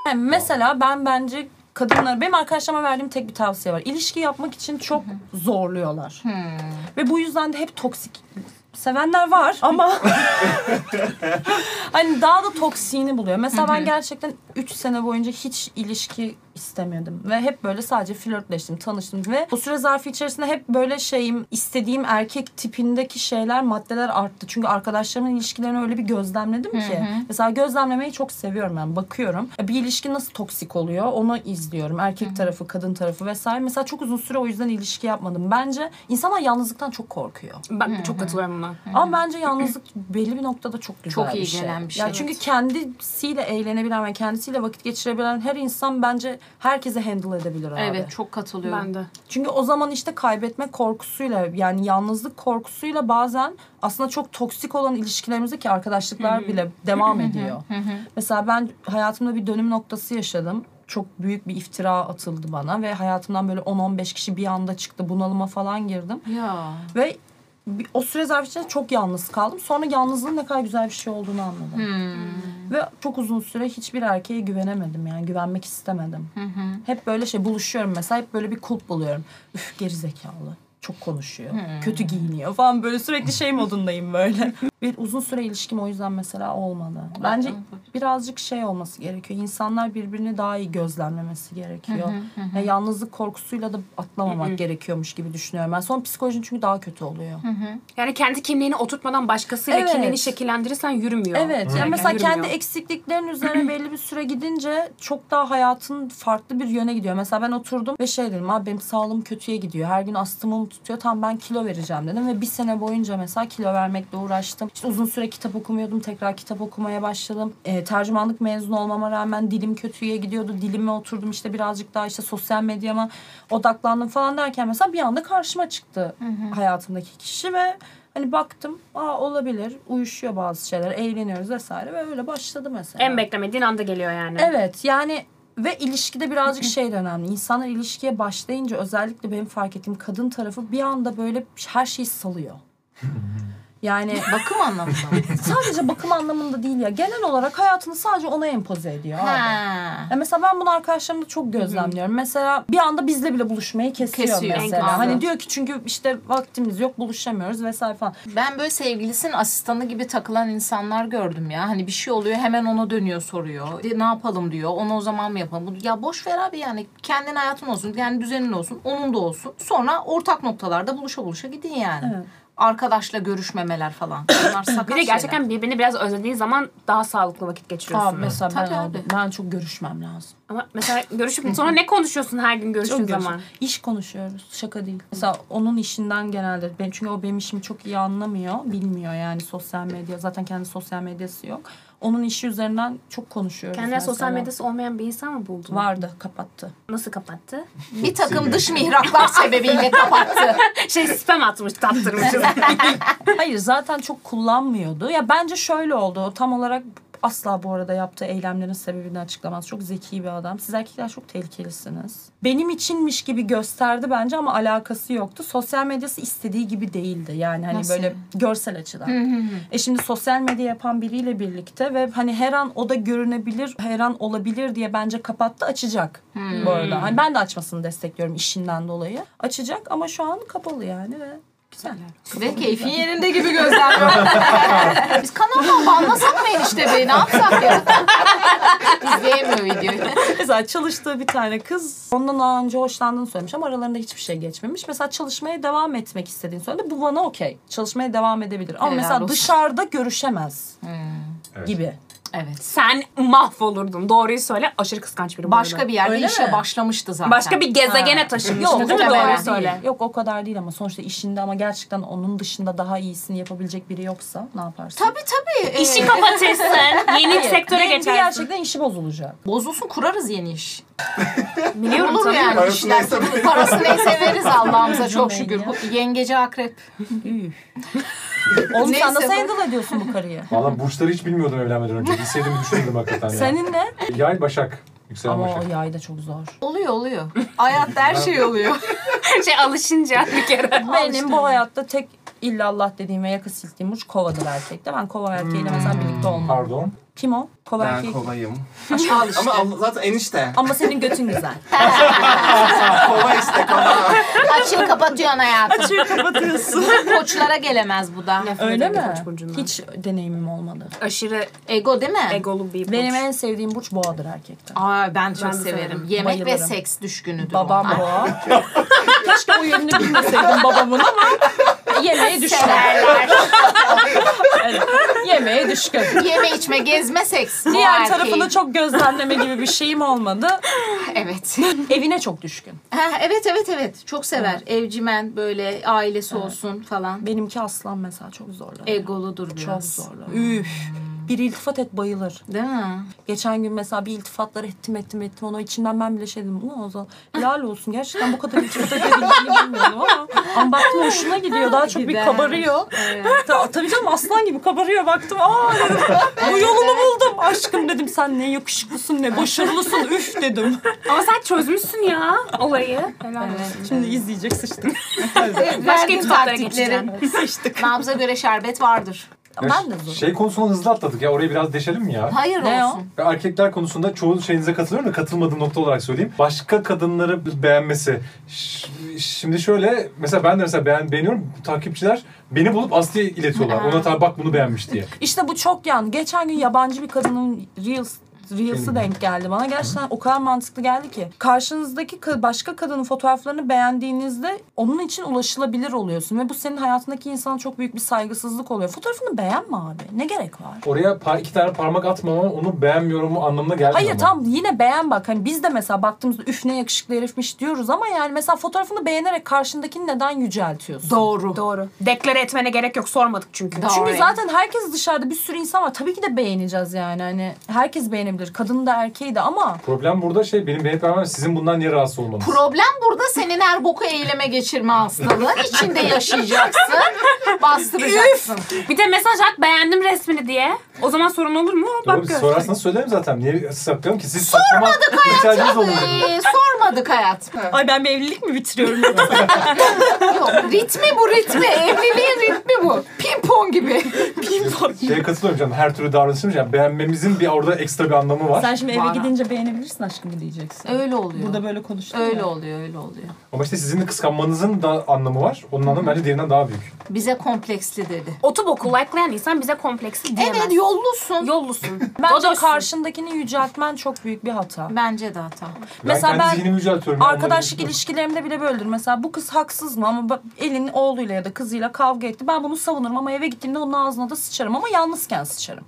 Speaker 3: Yani mesela ben bence kadınlar benim arkadaşlarıma verdiğim tek bir tavsiye var. İlişki yapmak için çok zorluyorlar. Ve bu yüzden de hep toksik sevenler [laughs] var ama hani daha da toksiğini buluyor. Mesela ben gerçekten 3 sene boyunca hiç ilişki istemedim. Ve hep böyle sadece flörtleştim, tanıştım. Ve o süre zarfı içerisinde hep böyle şeyim, istediğim erkek tipindeki şeyler, maddeler arttı. Çünkü arkadaşlarımın ilişkilerini öyle bir gözlemledim ki. Mesela gözlemlemeyi çok seviyorum ben. Bakıyorum. E, Bir ilişki nasıl toksik oluyor onu izliyorum. Erkek tarafı, kadın tarafı vesaire. Mesela çok uzun süre o yüzden ilişki yapmadım. Bence insanlar yalnızlıktan çok korkuyor.
Speaker 4: Ben çok katılıyorum buna.
Speaker 3: Ama bence yalnızlık belli bir noktada çok güzel
Speaker 2: Çok iyi
Speaker 3: bir şey.
Speaker 2: gelen bir şey,
Speaker 3: Ya
Speaker 2: evet.
Speaker 3: çünkü kendisiyle eğlenebilen ve kendisiyle vakit geçirebilen her insan bence herkese handle edebilir abi.
Speaker 2: Evet çok katılıyorum.
Speaker 4: Ben de.
Speaker 3: Çünkü o zaman işte kaybetme korkusuyla yani yalnızlık korkusuyla bazen aslında çok toksik olan ilişkilerimize ki arkadaşlıklar bile devam ediyor. Mesela ben hayatımda bir dönüm noktası yaşadım. Çok büyük bir iftira atıldı bana ve hayatımdan böyle 10-15 kişi bir anda çıktı. Bunalıma falan girdim.
Speaker 2: Ya.
Speaker 3: Ve bir- o süre zarfı içinde çok yalnız kaldım. Sonra yalnızlığın ne kadar güzel bir şey olduğunu anladım. Ve çok uzun süre hiçbir erkeğe güvenemedim yani. Güvenmek istemedim. Hep böyle şey buluşuyorum mesela. Hep böyle bir kulp buluyorum. Üf gerizekalı. Çok konuşuyor. Kötü giyiniyor falan. Böyle sürekli şey modundayım böyle. bir uzun süre ilişkim o yüzden mesela olmadı. Bence birazcık şey olması gerekiyor. İnsanlar birbirini daha iyi gözlemlemesi gerekiyor. Ya yalnızlık korkusuyla da atlamamak gerekiyormuş gibi düşünüyorum. Ben son psikolojin çünkü daha kötü oluyor.
Speaker 4: Yani kendi kimliğini oturtmadan başkasıyla
Speaker 3: Evet.
Speaker 4: kimliğini şekillendirirsen yürümüyor.
Speaker 3: Evet. Yani
Speaker 4: Gereken
Speaker 3: mesela
Speaker 4: yürümüyor.
Speaker 3: kendi eksikliklerin üzerine belli bir süre gidince çok daha hayatın farklı bir yöne gidiyor. Mesela ben oturdum ve şey dedim abi benim sağlığım kötüye gidiyor. Her gün astımım tutuyor. Tam ben kilo vereceğim dedim ve bir sene boyunca mesela kilo vermekle uğraştım. İşte uzun süre kitap okumuyordum. Tekrar kitap okumaya başladım. Ee, tercümanlık mezun olmama rağmen dilim kötüye gidiyordu. Dilime oturdum işte birazcık daha işte sosyal medyama odaklandım falan derken mesela bir anda karşıma çıktı hayatımdaki kişi ve Hani baktım aa olabilir uyuşuyor bazı şeyler eğleniyoruz vesaire ve öyle başladı mesela.
Speaker 4: En beklemediğin anda geliyor yani.
Speaker 3: Evet yani ve ilişkide birazcık şey de önemli. İnsanlar ilişkiye başlayınca özellikle benim fark ettiğim kadın tarafı bir anda böyle her şeyi salıyor. Yani
Speaker 6: Bakım anlamında. mı? [laughs]
Speaker 3: sadece bakım anlamında değil ya genel olarak hayatını sadece ona empoze ediyor. abi.
Speaker 6: ha.
Speaker 3: Ya mesela ben bunu arkadaşlarımda çok gözlemliyorum. Mesela bir anda bizle bile buluşmayı kesiyor,
Speaker 2: Kesiyor.
Speaker 3: mesela.
Speaker 4: Enkazı.
Speaker 3: Hani diyor ki çünkü işte vaktimiz yok buluşamıyoruz vesaire falan.
Speaker 6: Ben böyle sevgilisinin asistanı gibi takılan insanlar gördüm ya. Hani bir şey oluyor hemen ona dönüyor soruyor. De, ne yapalım diyor. Onu o zaman mı yapalım? Bu- Ya boş ver abi yani. Kendin hayatın olsun. Yani düzenin olsun. Onun da olsun. Sonra ortak noktalarda buluşa buluşa gidin yani. Arkadaşla
Speaker 4: [coughs]
Speaker 6: görüşmemeler falan. Bunlar sakat
Speaker 4: Bir de gerçekten birbirini biraz özlediğin zaman daha sağlıklı vakit geçiriyorsun.
Speaker 3: Abi mesela ben
Speaker 6: Tabii
Speaker 3: aldım. Ben çok görüşmem lazım.
Speaker 4: Ama mesela görüşüp sonra ne konuşuyorsun her gün
Speaker 3: Çok
Speaker 4: görüştüğün
Speaker 3: görüş-
Speaker 4: zaman?
Speaker 3: İş konuşuyoruz. Şaka değil. Mesela onun işinden genelde ben çünkü o benim işimi çok iyi anlamıyor, bilmiyor yani sosyal medya. Zaten kendi sosyal medyası yok. Onun işi üzerinden çok konuşuyoruz.
Speaker 4: Kendine sosyal
Speaker 3: mesela.
Speaker 4: medyası olmayan bir insan mı buldun?
Speaker 3: vardı, kapattı.
Speaker 4: Nasıl kapattı? [laughs]
Speaker 6: Bir takım dış mihraklar sebebiyle kapattı.
Speaker 4: şey spam atmış, tattırmışız.
Speaker 3: Hayır, zaten çok kullanmıyordu. Ya bence şöyle oldu. o Tam olarak asla bu arada yaptığı eylemlerin sebebini açıklamaz. Çok zeki bir adam. Siz erkekler çok tehlikelisiniz. Benim içinmiş gibi gösterdi bence ama alakası yoktu. Sosyal medyası istediği gibi değildi. Yani hani böyle görsel açıdan. E şimdi sosyal medya yapan biriyle birlikte ve hani her an o da görünebilir, her an olabilir diye bence kapattı açacak bu arada. Hani ben de açmasını destekliyorum işinden dolayı. Açacak ama şu an kapalı yani ve güzel.
Speaker 6: Ve keyfin yerinde gibi gözler. Biz kanaldan banlasak mı enişte bey? Ne yapsak ya? İzleyemiyor videoyu.
Speaker 3: Mesela çalıştığı bir tane kız ondan daha önce hoşlandığını söylemiş ama aralarında hiçbir şey geçmemiş. Mesela çalışmaya devam etmek istediğini söyledi. Bu bana okey. Çalışmaya devam edebilir. Ama
Speaker 6: Helal
Speaker 3: mesela
Speaker 6: olsun.
Speaker 3: dışarıda görüşemez
Speaker 7: Evet.
Speaker 3: gibi.
Speaker 6: Evet.
Speaker 4: Sen mahvolurdun. Doğruyu söyle. Aşırı kıskanç biri bu arada.
Speaker 6: Başka bir yerde
Speaker 3: Öyle
Speaker 6: işe
Speaker 3: mi?
Speaker 6: başlamıştı zaten.
Speaker 4: Başka bir gezegene
Speaker 3: Yok,
Speaker 4: taşınmıştı
Speaker 3: o
Speaker 4: değil mi?
Speaker 3: kadar
Speaker 4: Doğruyu
Speaker 6: Doğru
Speaker 3: değil.
Speaker 4: söyle.
Speaker 3: Yok o kadar değil ama sonuçta işinde ama gerçekten onun dışında daha iyisini yapabilecek biri yoksa ne yaparsın?
Speaker 6: Tabii tabii. Ee,
Speaker 4: İşi kapatırsın. Yeni bir sektöre
Speaker 3: Benim bir
Speaker 4: geçersin.
Speaker 3: gerçekten işi bozulacak.
Speaker 6: Bozulsun kurarız yeni iş.
Speaker 4: Biliyorum
Speaker 6: Olur
Speaker 4: tabii.
Speaker 6: yani
Speaker 5: Parası
Speaker 6: işler.
Speaker 5: neyse veririz.
Speaker 6: Parası neyse [laughs] veririz Allah'ımıza çok
Speaker 3: Canım
Speaker 6: şükür.
Speaker 3: benim
Speaker 6: Bu Yengece akrep.
Speaker 3: Oğlum sen nasıl
Speaker 6: Neyse,
Speaker 3: handle ediyorsun bu karıyı?
Speaker 7: Valla burçları hiç bilmiyordum evlenmeden önce. Bilseydim düşünürdüm hakikaten ya.
Speaker 3: Senin ne?
Speaker 7: Yay Başak. Yükselen
Speaker 3: Ama o
Speaker 7: Başak.
Speaker 3: yay da çok zor.
Speaker 6: Oluyor [laughs] oluyor. Hayatta her şey oluyor.
Speaker 4: Şey alışınca bir kere.
Speaker 3: Benim bu hayatta Hmm. tek illallah dediğim ve yakı sildiğim burç kovadır erkekte. Ben kova erkeğiyle mesela birlikte olmam.
Speaker 7: Pardon.
Speaker 3: Kim o? Kova
Speaker 5: Ben
Speaker 3: erkek.
Speaker 5: kovayım.
Speaker 3: Al işte.
Speaker 5: [laughs] Ama abla- zaten enişte.
Speaker 3: Ama senin götün güzel.
Speaker 5: Kova işte kova.
Speaker 6: [laughs] Açığı kapatıyorsun hayatım.
Speaker 3: Açıyor kapatıyorsun.
Speaker 6: Koçlara gelemez bu da.
Speaker 3: [laughs] Öyle mi?
Speaker 4: Koç burcundan.
Speaker 3: Hiç deneyimim olmadı.
Speaker 4: Aşırı
Speaker 6: Ego değil mi?
Speaker 4: egolu bir burç.
Speaker 3: Benim en sevdiğim burç boğadır erkekten.
Speaker 6: Aa, ben çok
Speaker 4: Ben de
Speaker 6: severim.
Speaker 4: severim.
Speaker 6: Yemek ve
Speaker 3: Bayılırım.
Speaker 6: seks düşkünüdür
Speaker 3: Babam
Speaker 6: onlar.
Speaker 3: boğa. [laughs] Keşke o yönünü bilmeseydim babamın ama yemeğe düşkün. Evet, yemeğe düşkün.
Speaker 6: Yeme içme gezme seks. Bu
Speaker 3: Diğer
Speaker 6: erkeğin-
Speaker 3: tarafını çok gözlemleme gibi bir şeyim olmadı.
Speaker 6: [laughs] Evet.
Speaker 3: Evine çok düşkün.
Speaker 6: Ha, evet evet evet. Çok sever. Evcimen böyle ailesi olsun falan.
Speaker 3: Benimki aslan mesela çok zorlar.
Speaker 6: Egoludur biraz.
Speaker 3: Çok zorlar. Üf. Bir iltifat et bayılır.
Speaker 6: Değil mi?
Speaker 3: Geçen gün mesela bir iltifatlar ettim ettim ettim ona içinden ben bile şey dedim. Ulan o zaman helal olsun gerçekten bu kadar iltifat edebildiğini bilmiyorum ama. Ama baktım hoşuna gidiyor daha çok bir
Speaker 6: Gider.
Speaker 3: kabarıyor. Ta- tabii canım aslan gibi kabarıyor baktım. Aa dedim bu yolunu buldum. Aşkım dedim sen ne yakışıklısın ne başarılısın üf dedim.
Speaker 4: Ama sen çözmüşsün ya olayı. Helal olsun.
Speaker 3: Şimdi izleyecek sıçtık.
Speaker 4: Başka
Speaker 6: Verdiğim
Speaker 4: iltifatlara
Speaker 6: taktikleri.
Speaker 4: geçeceğim.
Speaker 3: Sıçtık.
Speaker 6: Nabza göre şerbet vardır.
Speaker 7: Ya
Speaker 3: Ben de
Speaker 7: ş-
Speaker 3: zor.
Speaker 7: Şey konusunu hızlı atladık ya orayı biraz deşelim mi ya?
Speaker 6: Hayır
Speaker 3: Ne
Speaker 6: olsun.
Speaker 7: Ya Erkekler konusunda çoğu şeyinize katılıyorum da katılmadığım nokta olarak söyleyeyim. Başka kadınları beğenmesi. Ş- Şimdi şöyle mesela ben de mesela beğen, beğeniyorum. Takipçiler beni bulup Aslı'ya iletiyorlar. Ona tabi bak bunu beğenmiş diye.
Speaker 3: İşte bu çok yan. Geçen gün yabancı bir kadının Reels Reels'ı denk geldi bana. Gerçekten o kadar mantıklı geldi ki. Karşınızdaki ka- başka kadının fotoğraflarını beğendiğinizde onun için ulaşılabilir oluyorsun. Ve bu senin hayatındaki insana çok büyük bir saygısızlık oluyor. Fotoğrafını beğenme abi. Ne gerek var?
Speaker 7: Oraya par- iki tane parmak atmama onu beğenmiyorum anlamına gelmiyor
Speaker 3: Hayır
Speaker 7: ama.
Speaker 3: tam yine beğen bak. Hani biz de mesela baktığımızda üf ne yakışıklı herifmiş diyoruz ama yani mesela fotoğrafını beğenerek karşındakini neden yüceltiyorsun?
Speaker 4: [laughs]
Speaker 6: Doğru.
Speaker 4: Doğru. Deklare etmene gerek yok sormadık çünkü.
Speaker 6: Doğru.
Speaker 3: Çünkü zaten herkes dışarıda bir sürü insan var. Tabii ki de beğeneceğiz yani. Hani herkes beğenebilir. Kadın da erkeği de ama
Speaker 7: Problem burada şey benim beğenip beğenmem sizin bundan niye rahatsız olmanız.
Speaker 6: Problem burada senin her boku eyleme geçirme hastalığın içinde yaşayacaksın. Bastıracaksın.
Speaker 4: Bir de mesaj at beğendim resmini diye. O zaman sorun olur mu?
Speaker 7: Doğru,
Speaker 4: Bak
Speaker 7: biz
Speaker 4: gör.
Speaker 7: sorarsanız söylerim zaten. Niye saklıyorum ki? Siz Sormadık ihtiyacınız olur.
Speaker 6: Ee, sormadık hayat.
Speaker 3: Ay ben bir evlilik mi bitiriyorum?
Speaker 6: Yok, ritmi bu ritmi. Evliliğin ritmi bu. Pimpon gibi.
Speaker 7: Şeye katılıyorum canım. Her türlü davranışımız yani beğenmemizin bir orada ekstra bir anlamı var.
Speaker 3: Sen şimdi eve
Speaker 6: Bana.
Speaker 3: gidince beğenebilirsin aşkımı diyeceksin.
Speaker 6: Öyle oluyor.
Speaker 3: Burada böyle konuştun
Speaker 6: Öyle
Speaker 3: ya.
Speaker 6: oluyor, öyle oluyor.
Speaker 7: Ama işte sizin de kıskanmanızın da anlamı var. Onun anlamı bence diğerinden daha büyük.
Speaker 6: Bize kompleksli dedi.
Speaker 4: Otu boku likelayan insan bize kompleksi diyemez.
Speaker 6: Evet,
Speaker 4: [laughs]
Speaker 6: yollusun.
Speaker 4: Yollusun.
Speaker 3: Bence
Speaker 4: Godoşsun.
Speaker 3: karşındakini yüceltmen çok büyük bir hata.
Speaker 6: Bence de hata.
Speaker 3: Mesela
Speaker 7: ben kendi
Speaker 3: ben
Speaker 7: zihnimi yüceltiyorum. ya,
Speaker 3: Arkadaşlık
Speaker 7: onları
Speaker 3: ilişkilerimde bile böyledir. Mesela bu kız haksız mı ama bak elin oğluyla ya da kızıyla kavga etti. Ben bunu savunurum ama eve gittiğimde onun ağzına da sıçarım ama yalnızken sıçarım.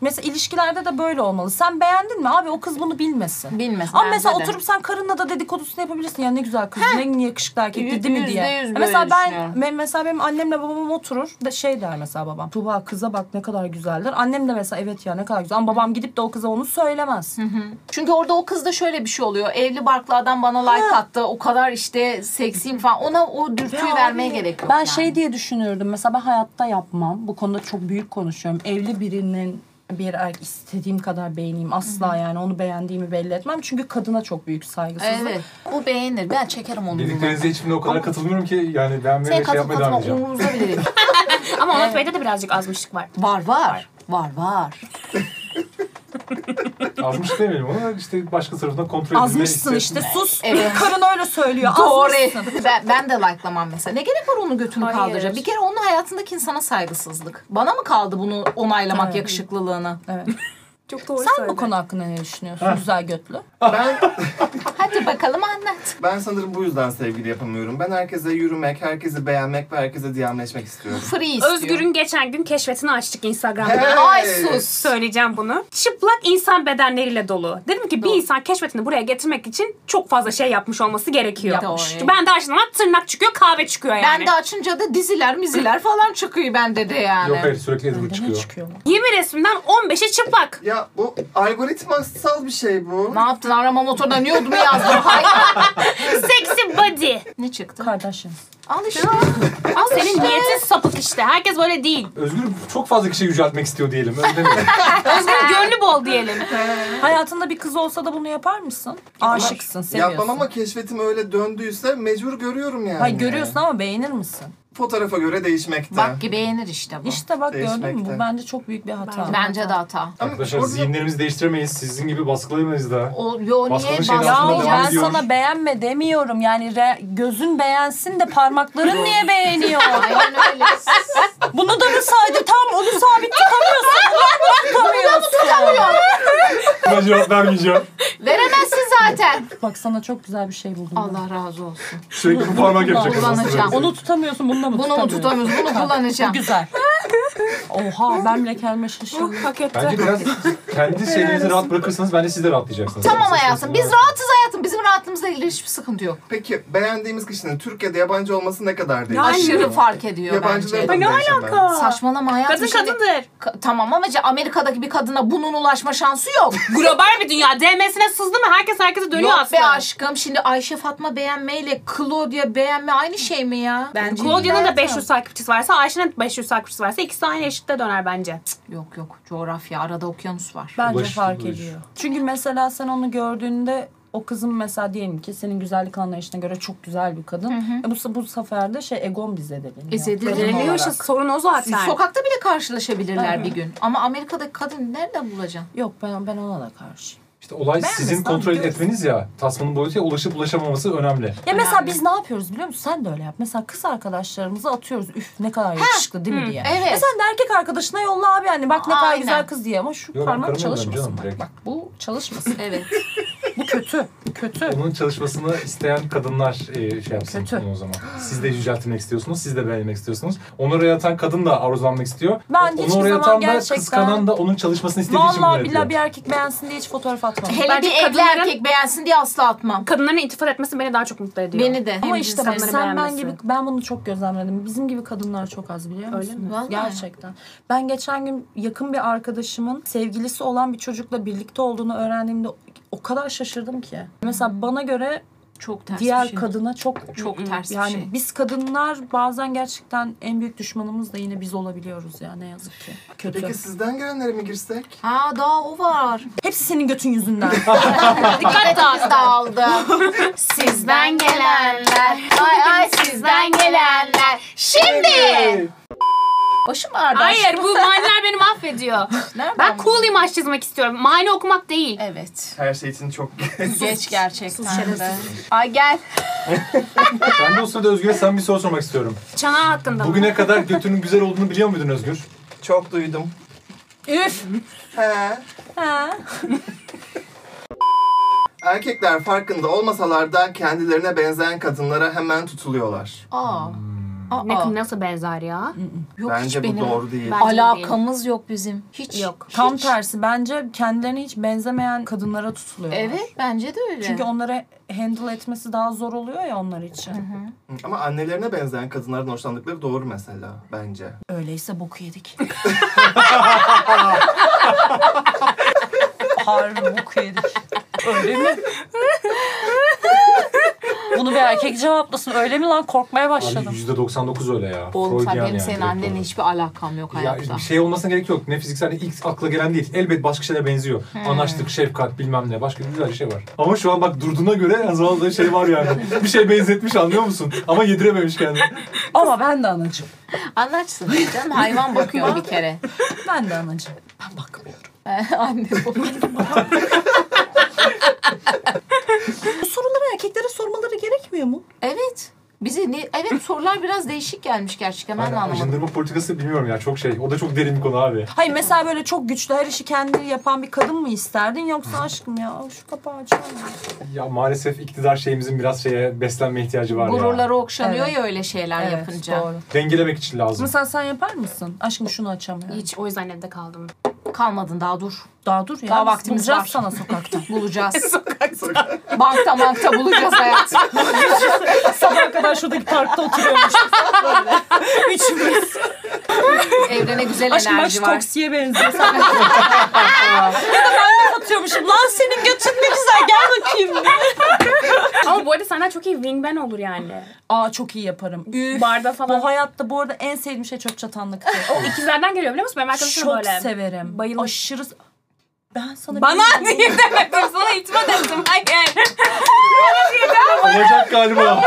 Speaker 3: Mesela ilişkilerde de böyle olmalı. Sen beğendin mi abi o kız bunu bilmesin.
Speaker 6: Bilmesin.
Speaker 3: Ama
Speaker 6: bence
Speaker 3: mesela
Speaker 6: de.
Speaker 3: oturup sen karınla da dedikodusunu yapabilirsin. Ya ne güzel kız, ne yakışıklı erkek
Speaker 6: Yüz-
Speaker 3: dedi mi
Speaker 6: yüzde
Speaker 3: diye.
Speaker 6: yüz
Speaker 3: Ya
Speaker 6: böyle
Speaker 3: mesela ben
Speaker 6: düşünüyorum.
Speaker 3: ben- mesela benim annemle babam oturur da şey der mesela babam. Tuba kıza bak ne kadar güzeldir. Annem de mesela evet ya ne kadar güzel. Ama babam gidip de o kıza onu söylemez.
Speaker 6: Çünkü orada o kızda şöyle bir şey oluyor. Evli barklı adam bana like attı. O kadar işte seksiyim falan. Ona o dürtüyü
Speaker 3: Ya
Speaker 6: vermeye
Speaker 3: abi,
Speaker 6: gerek yok.
Speaker 3: Ben
Speaker 6: yani.
Speaker 3: şey diye düşünürdüm. Mesela ben hayatta yapmam. Bu konuda çok büyük konuşuyorum. Evli birinin bir erkek istediğim kadar beğeneyim. Asla yani onu beğendiğimi belli etmem. Çünkü kadına çok büyük saygısızlık.
Speaker 6: Evet. O beğenir. Ben çekerim onu.
Speaker 7: Dediklerinize hiçbirine o kadar katılmıyorum ki yani
Speaker 6: Sen
Speaker 7: beğenmeye ve şey
Speaker 6: katıl
Speaker 7: yapmaya devam
Speaker 6: katılma
Speaker 7: edeceğim.
Speaker 6: umurumuzda bile [laughs] değil.
Speaker 4: Ama Onat Bey'de de birazcık azmışlık var.
Speaker 6: Var var. Var var.
Speaker 7: Azmış demeyelim ama işte başka tarafından kontrol edilme
Speaker 3: Azmışsın
Speaker 7: istedim.
Speaker 3: işte sus.
Speaker 6: Evet.
Speaker 3: Karın öyle söylüyor.
Speaker 6: Doğru.
Speaker 3: Azmışsın.
Speaker 6: Ben, ben de like'lamam mesela. Ne gerek var onun götünü
Speaker 4: Hayır.
Speaker 6: kaldıracak? Bir kere onun hayatındaki insana saygısızlık. Bana mı kaldı bunu onaylamak
Speaker 3: Evet.
Speaker 6: yakışıklılığını?
Speaker 3: Evet.
Speaker 4: Çok doğru
Speaker 3: Sen bu konu hakkında ne düşünüyorsun güzel götlü?
Speaker 5: Ben
Speaker 6: Hadi bakalım anlat.
Speaker 5: ben sanırım bu yüzden sevgili yapamıyorum. Ben herkese yürümek, herkesi beğenmek ve herkese diyamleşmek istiyorum.
Speaker 6: Free istiyor.
Speaker 4: Özgür'ün geçen gün keşfetini açtık Instagram'da.
Speaker 5: Hey!
Speaker 6: Ay sus.
Speaker 4: Söyleyeceğim bunu. Çıplak insan bedenleriyle dolu. Dedim ki bir insan keşfetini buraya getirmek için çok fazla şey yapmış olması gerekiyor.
Speaker 6: Yapmış.
Speaker 4: Doğru. Ben de açtığımda tırnak çıkıyor, kahve çıkıyor yani.
Speaker 6: Ben de açınca da diziler miziler falan çıkıyor bende de yani.
Speaker 7: Yok hayır sürekli ezilip
Speaker 3: Ne
Speaker 7: çıkıyor.
Speaker 3: çıkıyor?
Speaker 4: Yirmi resimden 15'e çıplak.
Speaker 5: Ya bu algoritmasal bir şey bu.
Speaker 6: Ne yaptın arama motoruna niye olduğunu yazdın? Hayır.
Speaker 4: Sexy body.
Speaker 6: ne çıktı?
Speaker 3: Kardeşim.
Speaker 6: Al işte.
Speaker 4: Ama senin niyetin sapık işte. Herkes böyle değil.
Speaker 7: Özgür çok fazla kişi yüceltmek istiyor diyelim. Öyle demeyelim.
Speaker 4: Özgür'ün gönlü bol diyelim.
Speaker 3: Hayatında bir kız olsa da bunu yapar mısın? Aşıksın, seviyorsun.
Speaker 5: Yapmam ama keşfetim öyle döndüyse mecbur görüyorum yani.
Speaker 3: Hayır görüyorsun ama beğenir misin?
Speaker 5: fotoğrafa göre değişmekte.
Speaker 6: Bak ki beğenir işte bu.
Speaker 3: İşte bak gördün mü
Speaker 5: Değişmekte.
Speaker 3: bu bence çok büyük bir hata.
Speaker 6: Bence de hata.
Speaker 5: Ama
Speaker 7: Arkadaşlar
Speaker 5: orada-
Speaker 7: zihinlerimizi değiştiremeyiz. Sizin gibi baskılayamayız da.
Speaker 6: O, yo niye
Speaker 7: Başka bir şey
Speaker 3: Ya
Speaker 7: Aslında devam
Speaker 3: ben
Speaker 6: baskılayacağız?
Speaker 7: ediyor.
Speaker 3: sana beğenme demiyorum. Yani re- gözün beğensin de parmakların niye beğeniyor?
Speaker 6: Aynen öyle.
Speaker 3: Bunu da mı saydı? Tam onu sabit tutamıyorsun. Bunu da mı tutamıyorsun?
Speaker 7: Ben cevap vermeyeceğim.
Speaker 6: Veremezsin zaten.
Speaker 3: Bak sana çok güzel bir şey buldum. ben.
Speaker 6: Allah razı olsun.
Speaker 7: Sürekli bu parmak yapacak.
Speaker 6: Kullanacağım.
Speaker 3: Onu tutamıyorsun. Bunu da mı
Speaker 6: Bunu mu
Speaker 3: tutamıyorsun?
Speaker 6: tutamıyoruz? Bunu
Speaker 3: Bu
Speaker 6: kullanacağım.
Speaker 3: güzel. Oha ben bile kelme şaşırdım.
Speaker 4: Hak etti.
Speaker 7: Bence biraz kendi şeylerinizi rahat bırakırsanız bence siz de rahatlayacaksınız.
Speaker 6: Tamam hayatım. Biz rahatız hayatım. Bizim rahatlığımızla ilgili hiçbir sıkıntı yok.
Speaker 5: Peki beğendiğimiz kişinin Türkiye'de yabancı olması ne kadar değişiyor?
Speaker 6: Aşırı fark ediyor bence.
Speaker 5: Yabancılara da değişiyor bence.
Speaker 6: Saçmalama hayatım.
Speaker 4: Kadın
Speaker 6: şimdi-
Speaker 4: kadındır.
Speaker 6: Ka- tamam ama ce- Amerika'daki bir kadına bunun ulaşma şansı yok.
Speaker 4: Global bir dünya. DM'sine sızdı mı herkes herkese dönüyor
Speaker 6: yok be
Speaker 4: aslında.
Speaker 6: aşkım. Şimdi Ayşe Fatma beğenmeyle Claudia beğenme aynı şey mi ya? Bence
Speaker 4: Claudia'nın da 500 takipçisi varsa Ayşe'nin 500 takipçisi varsa ikisi aynı eşitte döner bence.
Speaker 6: Yok yok. Coğrafya. Arada okyanus var.
Speaker 3: Bence
Speaker 7: Ulaş-
Speaker 3: fark
Speaker 7: ulaş.
Speaker 3: ediyor. Çünkü mesela sen onu gördüğünde o kızın mesela diyelim ki senin güzellik anlayışına göre çok güzel bir kadın. E bu, bu sefer de şey egom bize
Speaker 6: E,
Speaker 3: deliniyor.
Speaker 4: Deliriyor işte sorun o zaten.
Speaker 6: Sokakta bile karşılaşabilirler bir gün. Ama Amerika'daki kadın nereden bulacaksın?
Speaker 3: Yok ben ben ona da karşıyım.
Speaker 7: İşte olay sizin kontrol etmeniz ya. Tasmanın boyutuya ulaşıp ulaşamaması önemli.
Speaker 3: Ya mesela biz ne yapıyoruz biliyor musun? Sen de öyle yap. Mesela kız arkadaşlarımızı atıyoruz. Üf ne kadar yakışıklı değil mi diye.
Speaker 6: evet.
Speaker 3: E sen de erkek arkadaşına yolla abi yani bak ne kadar
Speaker 6: Aynen.
Speaker 3: güzel kız diye ama şu
Speaker 7: Yok ben
Speaker 3: parmak
Speaker 7: karıma yollarım canım
Speaker 3: çalışmasın. Bak,
Speaker 7: direkt.
Speaker 3: bak bu çalışmasın.
Speaker 6: Evet.
Speaker 3: bu kötü. Kötü.
Speaker 7: Onun çalışmasını isteyen kadınlar e, şey yapsın
Speaker 3: Kötü.
Speaker 7: bunu o zaman. Siz de yüceltilmek istiyorsunuz, siz de beğenilmek istiyorsunuz. Onu oraya atan kadın da arzulanmak istiyor.
Speaker 3: Ben
Speaker 7: onu
Speaker 3: hiçbir
Speaker 7: oraya
Speaker 3: zaman
Speaker 7: atan da
Speaker 3: gerçekten-
Speaker 7: kıskanan da onun çalışmasını istediği için bunu
Speaker 3: Vallahi
Speaker 7: yapıyor.
Speaker 3: billahi bir erkek beğensin diye hiç fotoğraf atmam.
Speaker 6: [laughs] Hele
Speaker 4: Bence
Speaker 6: bir evli
Speaker 4: kadınların-
Speaker 6: erkek beğensin diye asla atmam.
Speaker 4: Kadınların intifal etmesi beni daha çok mutlu ediyor.
Speaker 6: Beni de.
Speaker 3: Ama
Speaker 6: Hem
Speaker 3: işte
Speaker 6: cinsel-
Speaker 3: bak
Speaker 4: insanları
Speaker 3: sen ben
Speaker 4: beğenmesi.
Speaker 3: gibi ben bunu çok gözlemledim. Bizim gibi kadınlar çok az biliyor musun?
Speaker 4: mi?
Speaker 6: Vallahi.
Speaker 3: Gerçekten. Ben geçen gün yakın bir arkadaşımın sevgilisi olan bir çocukla birlikte olduğunu öğrendiğimde o kadar şaşırdım ki. Mesela bana göre
Speaker 6: çok ters
Speaker 3: diğer
Speaker 6: bir şey.
Speaker 3: kadına çok
Speaker 6: Çok ters
Speaker 3: yani
Speaker 6: bir şey.
Speaker 3: biz kadınlar bazen gerçekten en büyük düşmanımız da yine biz olabiliyoruz ya ne yazık ki. Kötü.
Speaker 5: Peki sizden gelenlere mi girsek?
Speaker 6: Ha daha o var.
Speaker 3: Hepsi senin götün
Speaker 6: [laughs]
Speaker 3: yüzünden.
Speaker 6: Dikkat dağıldı. sizden gelenler. Ay ay sizden gelenler. Şimdi. Başım ağrıdı.
Speaker 4: Hayır bu maniler beni mahvediyor.
Speaker 6: Nereden
Speaker 4: ben
Speaker 6: bu?
Speaker 4: cool imaj çizmek istiyorum. Mani okumak değil.
Speaker 6: Evet.
Speaker 5: Her şey için çok [laughs]
Speaker 6: Geç gerçekten de. Ay gel.
Speaker 7: Ben de o sırada Özgür'e sen bir soru sormak istiyorum.
Speaker 4: Çanağı hakkında mı?
Speaker 7: Bugüne kadar götünün güzel olduğunu biliyor muydun Özgür?
Speaker 5: çok duydum.
Speaker 3: Üf.
Speaker 5: He.
Speaker 3: Ha.
Speaker 5: Erkekler farkında olmasalar da kendilerine benzeyen kadınlara hemen tutuluyorlar.
Speaker 6: Aa.
Speaker 7: Hmm.
Speaker 6: Aa.
Speaker 4: Ne, nasıl benzer ya?
Speaker 6: Yok
Speaker 5: Bence
Speaker 6: hiç
Speaker 5: bu
Speaker 6: benim.
Speaker 5: doğru değil.
Speaker 4: Ben-
Speaker 6: Alakamız yok bizim. Hiç.
Speaker 4: Yok.
Speaker 3: Tam tersi bence kendilerine hiç benzemeyen kadınlara tutuluyor.
Speaker 6: Evet bence de öyle.
Speaker 3: Çünkü onları handle etmesi daha zor oluyor ya onlar için.
Speaker 5: Ama annelerine benzeyen kadınlardan hoşlandıkları doğru mesela bence.
Speaker 3: Öyleyse boku
Speaker 6: [laughs]
Speaker 3: yedik. Harbi boku yedik. Öyle mi?
Speaker 6: [laughs]
Speaker 3: Bunu bir erkek cevaplasın. Öyle mi lan? Korkmaya
Speaker 7: Abi
Speaker 3: başladım.
Speaker 7: %99 öyle ya.
Speaker 6: Oğlum sen
Speaker 7: Freudian
Speaker 6: benim
Speaker 7: yani
Speaker 6: senin
Speaker 7: direkt
Speaker 6: annenle
Speaker 7: olarak.
Speaker 6: hiçbir alakam yok
Speaker 7: Ya
Speaker 6: hayatta.
Speaker 7: bir şey olmasına gerek yok. Ne fiziksel ne ilk akla gelen değil. Elbet başka şeylere benziyor.
Speaker 6: Hmm.
Speaker 7: Anlaştık, şefkat bilmem ne. Başka güzel bir şey var. Ama şu an bak durduğuna göre en azından da şey
Speaker 6: [laughs]
Speaker 7: var yani. bir şey benzetmiş anlıyor musun? Ama yedirememiş kendini.
Speaker 3: Ama ben de anacım.
Speaker 6: Anlarsın canım hayvan bakıyor bir [laughs] kere.
Speaker 3: Ben de anacım. Ben bakmıyorum.
Speaker 6: Anne bu.
Speaker 3: Bu soruları erkeklere sormaları gerekmiyor mu?
Speaker 6: Evet. Bize ne? Evet sorular biraz değişik gelmiş gerçekten ben de
Speaker 7: Yani
Speaker 6: anlamadım.
Speaker 7: ajandırma politikası bilmiyorum ya çok şey. O da çok derin bir konu abi.
Speaker 3: Hayır mesela böyle çok güçlü her işi kendi yapan bir kadın mı isterdin yoksa aşkım ya şu kapağı açar mısın?
Speaker 7: Ya maalesef iktidar şeyimizin biraz şeye beslenme ihtiyacı var ya.
Speaker 6: Gururları okşanıyor
Speaker 3: Evet.
Speaker 6: ya öyle şeyler yapınca.
Speaker 3: doğru.
Speaker 7: Dengelemek için lazım.
Speaker 3: Mesela sen yapar mısın? Aşkım şunu açamıyorum.
Speaker 4: Hiç o yüzden evde kaldım.
Speaker 6: Kalmadın daha dur.
Speaker 3: Daha dur ya.
Speaker 6: Daha
Speaker 3: biz
Speaker 6: vaktimiz
Speaker 3: bulacağız
Speaker 6: var.
Speaker 3: sana [laughs] sokakta.
Speaker 6: [laughs] Bulacağız. bankta bankta bulacağız hayat.
Speaker 3: Sabah kadar şuradaki parkta oturuyormuş. [laughs] Üçümüz.
Speaker 6: Evde ne güzel
Speaker 3: Aşkım baş
Speaker 6: enerji var.
Speaker 3: koksiye benziyor. ya da ben de atıyormuşum. Lan senin götün ne güzel gel bakayım diye.
Speaker 4: Ama bu arada senden çok iyi wingman olur yani.
Speaker 3: Aa çok iyi yaparım. Üf.
Speaker 4: Barda falan.
Speaker 3: Bu hayatta bu arada en [laughs] sevdiğim şey çöp çatanlıktır.
Speaker 4: İkizlerden geliyor biliyor musun? Benim arkadaşım
Speaker 3: Çok
Speaker 4: böyle.
Speaker 3: severim.
Speaker 4: Bayılır.
Speaker 3: Aşırı Ben sana şey
Speaker 4: Bana niye demedim? Sana itimat ettim. Hayır.
Speaker 6: [laughs]
Speaker 7: Olacak galiba.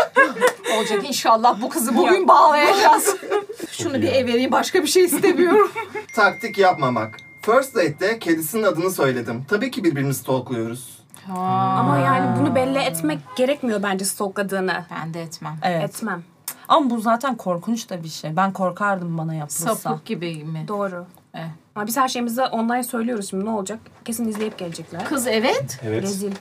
Speaker 6: Olacak inşallah bu kızı bugün bağlayacağız. [laughs] Şunu bir ev vereyim başka bir şey istemiyorum.
Speaker 5: Taktik yapmamak. First date'te kedisinin adını söyledim. Tabii ki birbirimizi stalkluyoruz.
Speaker 4: Ama yani bunu belli etmek gerekmiyor bence stalkladığını.
Speaker 6: Ben de etmem.
Speaker 3: Evet.
Speaker 4: Etmem.
Speaker 3: Ama bu zaten korkunç da bir şey. Ben korkardım bana yapılsa.
Speaker 6: Sapık gibi mi?
Speaker 4: Doğru.
Speaker 6: Eh.
Speaker 4: Ama biz her şeyimizi online söylüyoruz şimdi ne olacak? Kesin izleyip gelecekler.
Speaker 6: Kız evet.
Speaker 7: Evet.
Speaker 4: Rezil.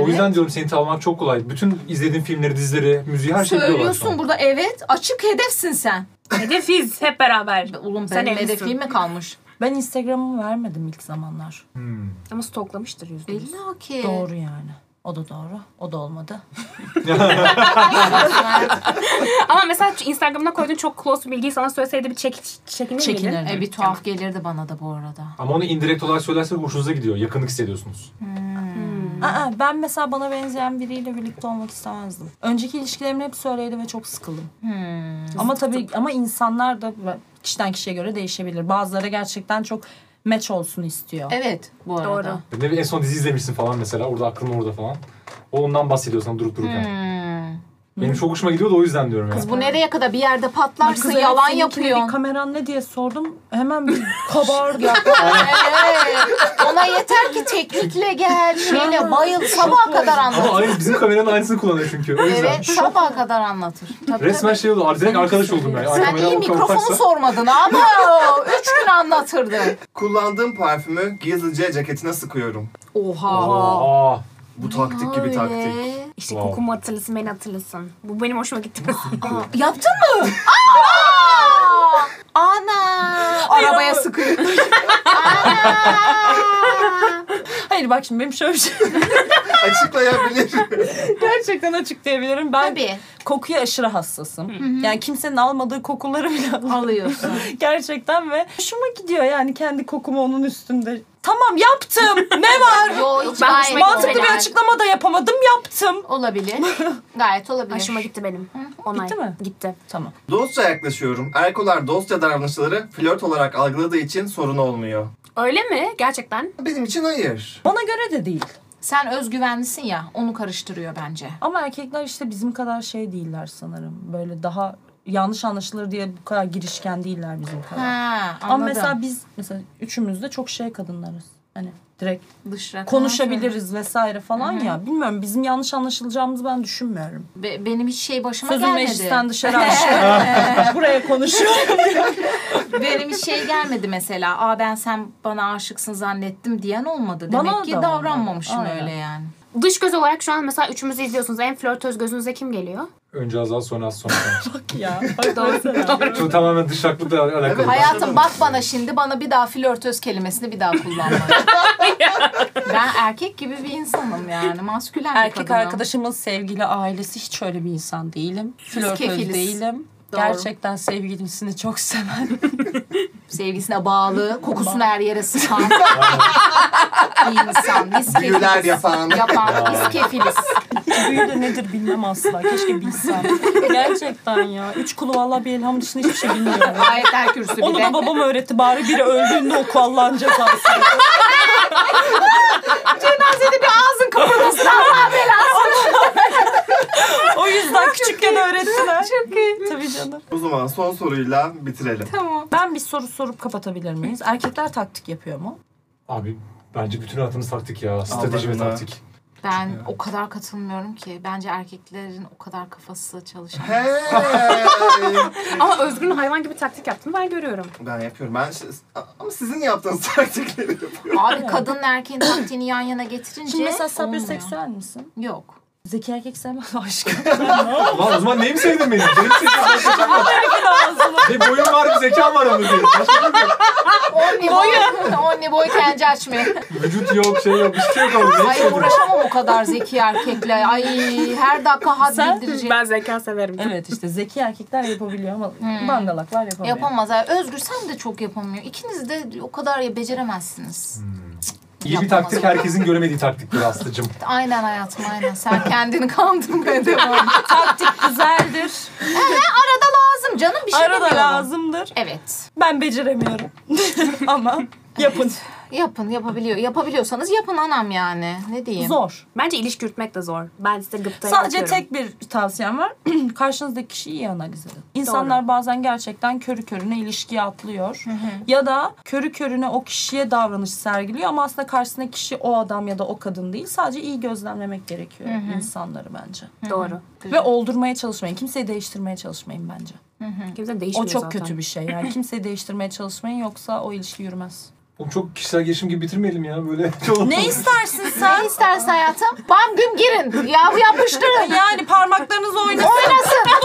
Speaker 7: O yüzden diyorum seni tavlamak çok kolay. Bütün izlediğin filmleri, dizileri, müziği her şeyi biliyorlar. şu
Speaker 6: Söylüyorsun
Speaker 7: an.
Speaker 6: burada evet. Açık hedefsin sen.
Speaker 4: Hedefiz hep beraber.
Speaker 6: Ulum
Speaker 4: Sen
Speaker 6: sen benim
Speaker 4: evlisin.
Speaker 6: hedefim mi kalmış?
Speaker 3: Ben Instagram'ımı vermedim ilk zamanlar.
Speaker 7: Hmm.
Speaker 4: Ama stalklamıştır yüzde yüz.
Speaker 6: Belli ki.
Speaker 3: Doğru yani. O da doğru. O da olmadı.
Speaker 4: Ama mesela Instagram'da koyduğun çok close bilgiyi sana söyleseydi bir çek, çekinir, miydin?
Speaker 6: E, bir tuhaf gelirdi bana da bu arada.
Speaker 7: Ama onu indirekt olarak söylersek hoşunuza gidiyor. Yakınlık hissediyorsunuz.
Speaker 3: Aa, ben mesela bana benzeyen biriyle birlikte olmak istemezdim. Önceki ilişkilerim hep söyleydi ve çok sıkıldım. Ama tabii ama insanlar da kişiden kişiye göre değişebilir. Bazıları gerçekten çok match olsun istiyor.
Speaker 6: Evet bu arada.
Speaker 4: Doğru.
Speaker 7: Ne bileyim, en son dizi izlemişsin falan mesela. Orada aklın orada falan. O ondan bahsediyor sana durup dururken.
Speaker 6: Hmm.
Speaker 7: Benim çok hoşuma gidiyor da o yüzden diyorum ya.
Speaker 6: Kız bu nereye kadar bir yerde
Speaker 3: Bak
Speaker 6: patlarsın
Speaker 3: kız, evet,
Speaker 6: yalan
Speaker 3: seninkine
Speaker 6: yapıyor.
Speaker 3: Bir kameran ne diye sordum. Hemen bir [laughs] kabardı. ya.
Speaker 6: Evet. Ona yeter ki teknikle gel. Şeyle bayıl sabaha kadar
Speaker 7: Ama
Speaker 6: anlatır.
Speaker 7: aynı bizim kameranın aynısını kullanıyor çünkü. O yüzden.
Speaker 6: Evet sabaha kadar anlatır. Tabii,
Speaker 7: Resmen şey oldu. ar- Direkt arkadaş oldum ben.
Speaker 6: tabii. Sen
Speaker 7: Arkamdan
Speaker 6: iyi
Speaker 7: o kafa
Speaker 6: mikrofonu
Speaker 7: taksa-
Speaker 6: sormadın ama üç gün anlatırdı.
Speaker 5: Kullandığım parfümü gizlice ceketine sıkıyorum.
Speaker 6: Oha.
Speaker 7: Aa.
Speaker 5: Bu taktik gibi taktik.
Speaker 4: İşte
Speaker 7: Wow.
Speaker 4: kokumu hatırlasın, beni hatırlasın. Bu benim hoşuma gitti.
Speaker 6: Yaptın mı? Aa! Ana. Arabaya
Speaker 3: [laughs]
Speaker 6: sıkıyor. [laughs]
Speaker 3: Hayır bak şimdi benim şöyle bir şey.
Speaker 5: Açıklayabilir. [laughs]
Speaker 3: Gerçekten açıklayabilirim. Ben
Speaker 6: Tabii.
Speaker 3: kokuya aşırı hassasım. Yani kimsenin almadığı kokuları bile
Speaker 6: Alıyorsun.
Speaker 3: [laughs] Gerçekten ve hoşuma gidiyor yani kendi kokumu onun üstünde. Tamam yaptım. [laughs] ne var?
Speaker 6: Yo hiç
Speaker 4: Ben
Speaker 6: gayet
Speaker 4: hoşuma
Speaker 3: Mantıklı
Speaker 4: gitti.
Speaker 3: bir açıklama da yapamadım. Yaptım.
Speaker 6: [laughs] Olabilir. Gayet olabilir.
Speaker 4: [laughs] hoşuma gitti benim. Onay.
Speaker 3: Gitti mi?
Speaker 4: Gitti.
Speaker 3: Tamam.
Speaker 5: Dostça yaklaşıyorum. Erkolar dostça davranışları flört olarak algıladığı için sorun olmuyor.
Speaker 4: Öyle mi? Gerçekten.
Speaker 5: Benim için hayır.
Speaker 3: Bana göre de değil.
Speaker 6: Sen özgüvenlisin ya onu karıştırıyor bence.
Speaker 3: Ama erkekler işte bizim kadar şey değiller sanırım. Böyle daha yanlış anlaşılır diye bu kadar girişken değiller bizim kadar.
Speaker 6: Ha, anladım.
Speaker 3: Ama mesela biz mesela üçümüz de çok şey kadınlarız. Hani direkt
Speaker 6: Dışra
Speaker 3: konuşabiliriz vesaire falan ya. Bilmiyorum bizim yanlış anlaşılacağımızı ben düşünmüyorum.
Speaker 6: Be- benim hiç şey başıma
Speaker 3: Sözüm
Speaker 6: gelmedi.
Speaker 3: meclisten [laughs] dışarı açtım. Buraya konuşuyorum.
Speaker 6: [laughs] Benim hiç şey gelmedi mesela. Aa ben sen bana aşıksın zannettim diyen olmadı. Demek
Speaker 3: Bana
Speaker 6: ki
Speaker 3: da olmadı.
Speaker 6: davranmamışım
Speaker 3: Aynen.
Speaker 6: öyle yani.
Speaker 4: Dış göz olarak şu an mesela üçümüzü izliyorsunuz. En flörtöz gözünüze kim geliyor?
Speaker 7: Önce azal sonra az sonra.
Speaker 3: ya.
Speaker 7: Bu tamamen dışaklıkla alakalı.
Speaker 5: Evet.
Speaker 6: Hayatım bak bana şimdi bana bir daha flörtöz kelimesini bir
Speaker 3: [laughs]
Speaker 6: daha kullanma. ben erkek gibi bir insanım yani. Maskülen bir
Speaker 3: Erkek
Speaker 6: kadınım.
Speaker 3: arkadaşımın sevgili ailesi hiç öyle bir insan değilim. Flörtöz
Speaker 6: kefiliz.
Speaker 3: değilim.
Speaker 6: Doğru.
Speaker 3: Gerçekten sevgilisini çok [laughs] seven.
Speaker 6: Sevgisine bağlı, kokusunu her yere sıkan. bir insan. Biz
Speaker 5: Büyüler
Speaker 6: kefiliz.
Speaker 5: yapan.
Speaker 6: Yapan biz kefiliz.
Speaker 3: Büyü de nedir bilmem asla. Keşke bilsem. Gerçekten ya. Üç kulu valla bir elhamın dışında hiçbir şey bilmiyorum.
Speaker 6: Ayetler kürsü bir
Speaker 3: Onu
Speaker 6: de.
Speaker 3: da babam öğretti. Bari
Speaker 6: [laughs]
Speaker 3: biri öldüğünde oku Allah'ın cezası.
Speaker 6: Cenazede bir ağzın kıpırdasın.
Speaker 3: O yüzden küçükken öğrettiler. Çok iyi. Tabii canım.
Speaker 5: [laughs] O zaman son soruyla bitirelim.
Speaker 3: Ben bir soru sorup kapatabilir miyiz? Erkekler taktik yapıyor mu?
Speaker 7: Abi bence bütün hayatımız taktik ya. Strateji ve
Speaker 5: Allah'ım ya.
Speaker 7: taktik.
Speaker 6: Ben o kadar katılmıyorum ki. Bence erkeklerin o kadar
Speaker 3: [laughs]
Speaker 6: kafası çalışamıyor.
Speaker 5: Hey!
Speaker 4: Ama Özgür'ün hayvan gibi taktik yaptığını ben görüyorum.
Speaker 5: ben yapıyorum. Ben şi- ama sizin yaptığınız [laughs] taktikleri yapıyorum.
Speaker 6: Abi kadın erkeğin taktiğini yan yana getirince
Speaker 3: Şimdi mesela sen
Speaker 6: olmuyor.
Speaker 3: biseksüel misin?
Speaker 6: Yok.
Speaker 3: Zeki erkek sevmem [laughs] aşkım.
Speaker 7: Lan o zaman neyi mi sevdin beni? Benim sevdiğim Bir boyum var bir zekam var ama benim. Başka bir şey yok.
Speaker 6: Only boy, [laughs] only boy kendi açmıyor.
Speaker 7: Vücut yok şey yok hiçbir şey yok ama neyi
Speaker 6: Hayır
Speaker 7: sevdin?
Speaker 6: uğraşamam o kadar zeki erkekle. Ay her dakika had bildirecek.
Speaker 4: Ben zeka severim.
Speaker 3: evet işte zeki erkekler yapabiliyor ama
Speaker 6: Hmm.
Speaker 3: bandalaklar yapamıyor.
Speaker 6: Yapamaz. Yani Özgür sen de çok yapamıyor. İkiniz de o kadar ya beceremezsiniz.
Speaker 7: İyi bir taktik herkesin göremediği taktiktir Aslı'cım.
Speaker 6: Aynen hayatım aynen. Sen kendini kandırmaya
Speaker 3: [laughs]
Speaker 6: devam et.
Speaker 3: Taktik [laughs] güzeldir.
Speaker 6: Arada lazım canım bir şey
Speaker 3: Arada
Speaker 6: demiyorum.
Speaker 3: lazımdır.
Speaker 6: Evet.
Speaker 3: Ben beceremiyorum. [laughs] ama Yapın.
Speaker 6: Yapın yapabiliyor. Yapabiliyorsanız yapın anam yani. Ne diyeyim?
Speaker 3: Zor.
Speaker 4: Bence ilişki yürütmek de zor. Ben size gıptayı
Speaker 3: Sadece
Speaker 4: yapıyorum.
Speaker 3: tek bir tavsiyem var. [clears throat] Karşınızdaki kişiyi iyi analiz edin. İnsanlar bazen gerçekten körü körüne ilişkiye atlıyor. Ya da körü körüne o kişiye davranış sergiliyor ama aslında karşısındaki kişi o adam ya da o kadın değil. Sadece iyi gözlemlemek gerekiyor insanları bence.
Speaker 4: Doğru.
Speaker 3: Ve oldurmaya çalışmayın. Kimseyi değiştirmeye çalışmayın bence.
Speaker 4: Kimse
Speaker 3: O
Speaker 4: değişmiyor
Speaker 3: çok
Speaker 4: zaten.
Speaker 3: kötü bir şey yani. Kimseyi değiştirmeye çalışmayın yoksa o ilişki yürümez.
Speaker 7: Oğlum çok kişisel gelişim gibi bitirmeyelim ya böyle.
Speaker 3: Ne istersin sen? [laughs]
Speaker 6: Ne istersen hayatım. Bam güm girin. Yağı yapıştırın.
Speaker 3: Yani parmaklarınız oynasın.
Speaker 6: Oynasın.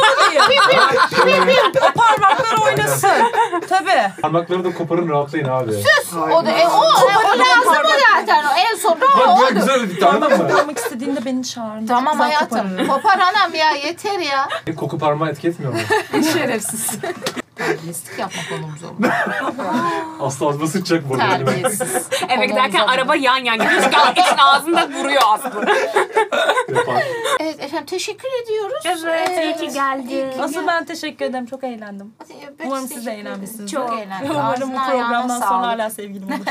Speaker 3: o parmaklar oynasın. Tabii.
Speaker 7: Parmakları da koparın rahatlayın abi.
Speaker 6: O da e, o, e, o lazım mı zaten? En sonunda o
Speaker 7: Bak
Speaker 6: oldu.
Speaker 7: güzel bir tane ama.
Speaker 3: Parmak istediğinde beni çağırın.
Speaker 6: Tamam
Speaker 3: Güzel koparın.
Speaker 6: hayatım. Kopar anam ya yeter ya.
Speaker 7: E, Koku parmağı etki etmiyor mu?
Speaker 3: şey.
Speaker 4: [laughs]
Speaker 6: Şerefsiz. Terbiyesizlik yapmak olumuz olur.
Speaker 7: Asla ağzıma sıçacak bu arada.
Speaker 6: Terbiyesiz.
Speaker 4: Eve giderken
Speaker 6: Olmaz.
Speaker 4: araba yan yan gidiyor. Çünkü [laughs] için ağzında vuruyor aslında.
Speaker 7: Yapar.
Speaker 6: Evet efendim teşekkür ediyoruz. Ee,
Speaker 4: Evet, iyi ki geldin.
Speaker 3: Asıl ben teşekkür ederim. Çok eğlendim.
Speaker 6: Ben
Speaker 3: Umarım
Speaker 6: teşekkür
Speaker 3: siz de
Speaker 6: ederim.
Speaker 3: eğlenmişsinizdir.
Speaker 6: Çok eğlendim.
Speaker 3: Umarım bu
Speaker 6: Ağzına, ayağına
Speaker 3: programdan sonra
Speaker 6: sağlık.
Speaker 3: hala
Speaker 6: [laughs]
Speaker 3: sevgilim olur.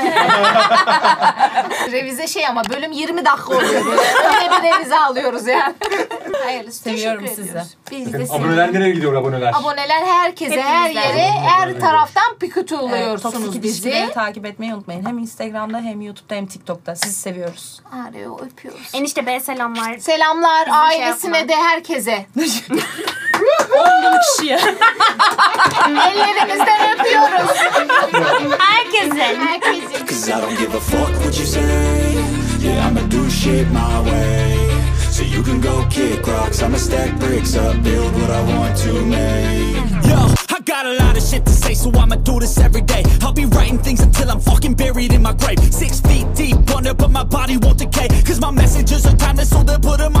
Speaker 6: Revize şey ama bölüm 20 dakika [laughs] oluyor böyle. Öyle bir revize alıyoruz yani. Hayırlısı.
Speaker 3: Seviyorum
Speaker 6: Teşekkür
Speaker 3: sizi.
Speaker 6: ediyoruz. Biz de
Speaker 7: Efendim,
Speaker 6: sizi.
Speaker 7: Aboneler nereye gidiyor aboneler?
Speaker 6: Aboneler herkese, her
Speaker 4: Hepimizden.
Speaker 6: yere, her
Speaker 7: Evet.
Speaker 6: taraftan
Speaker 3: Evet,
Speaker 6: pikutuluyorsunuz
Speaker 3: Toksik
Speaker 6: bizi.
Speaker 3: ilişkileri takip etmeyi unutmayın. Hem Instagram'da hem YouTube'da hem TikTok'ta. Sizi seviyoruz.
Speaker 6: Arıyor, öpüyoruz.
Speaker 4: Enişte B selamlar.
Speaker 6: Selamlar
Speaker 4: şey
Speaker 6: ailesine
Speaker 4: yapma.
Speaker 6: de herkese.
Speaker 3: 10 bin kişiye.
Speaker 6: Ellerimizden öpüyoruz.
Speaker 4: Herkese.
Speaker 6: Herkese.
Speaker 8: Cause I don't give a fuck what you say. Yeah, I'ma do shit my way. So you can go kick rocks. I'ma stack bricks up, build what I want to make. Yo, I got a lot of shit to say, so I'ma do this every day. I'll be writing things until I'm fucking buried in my grave. Six feet deep, wonder, but my body won't decay. Cause my messages are timeless, so they'll put 'em on Oh,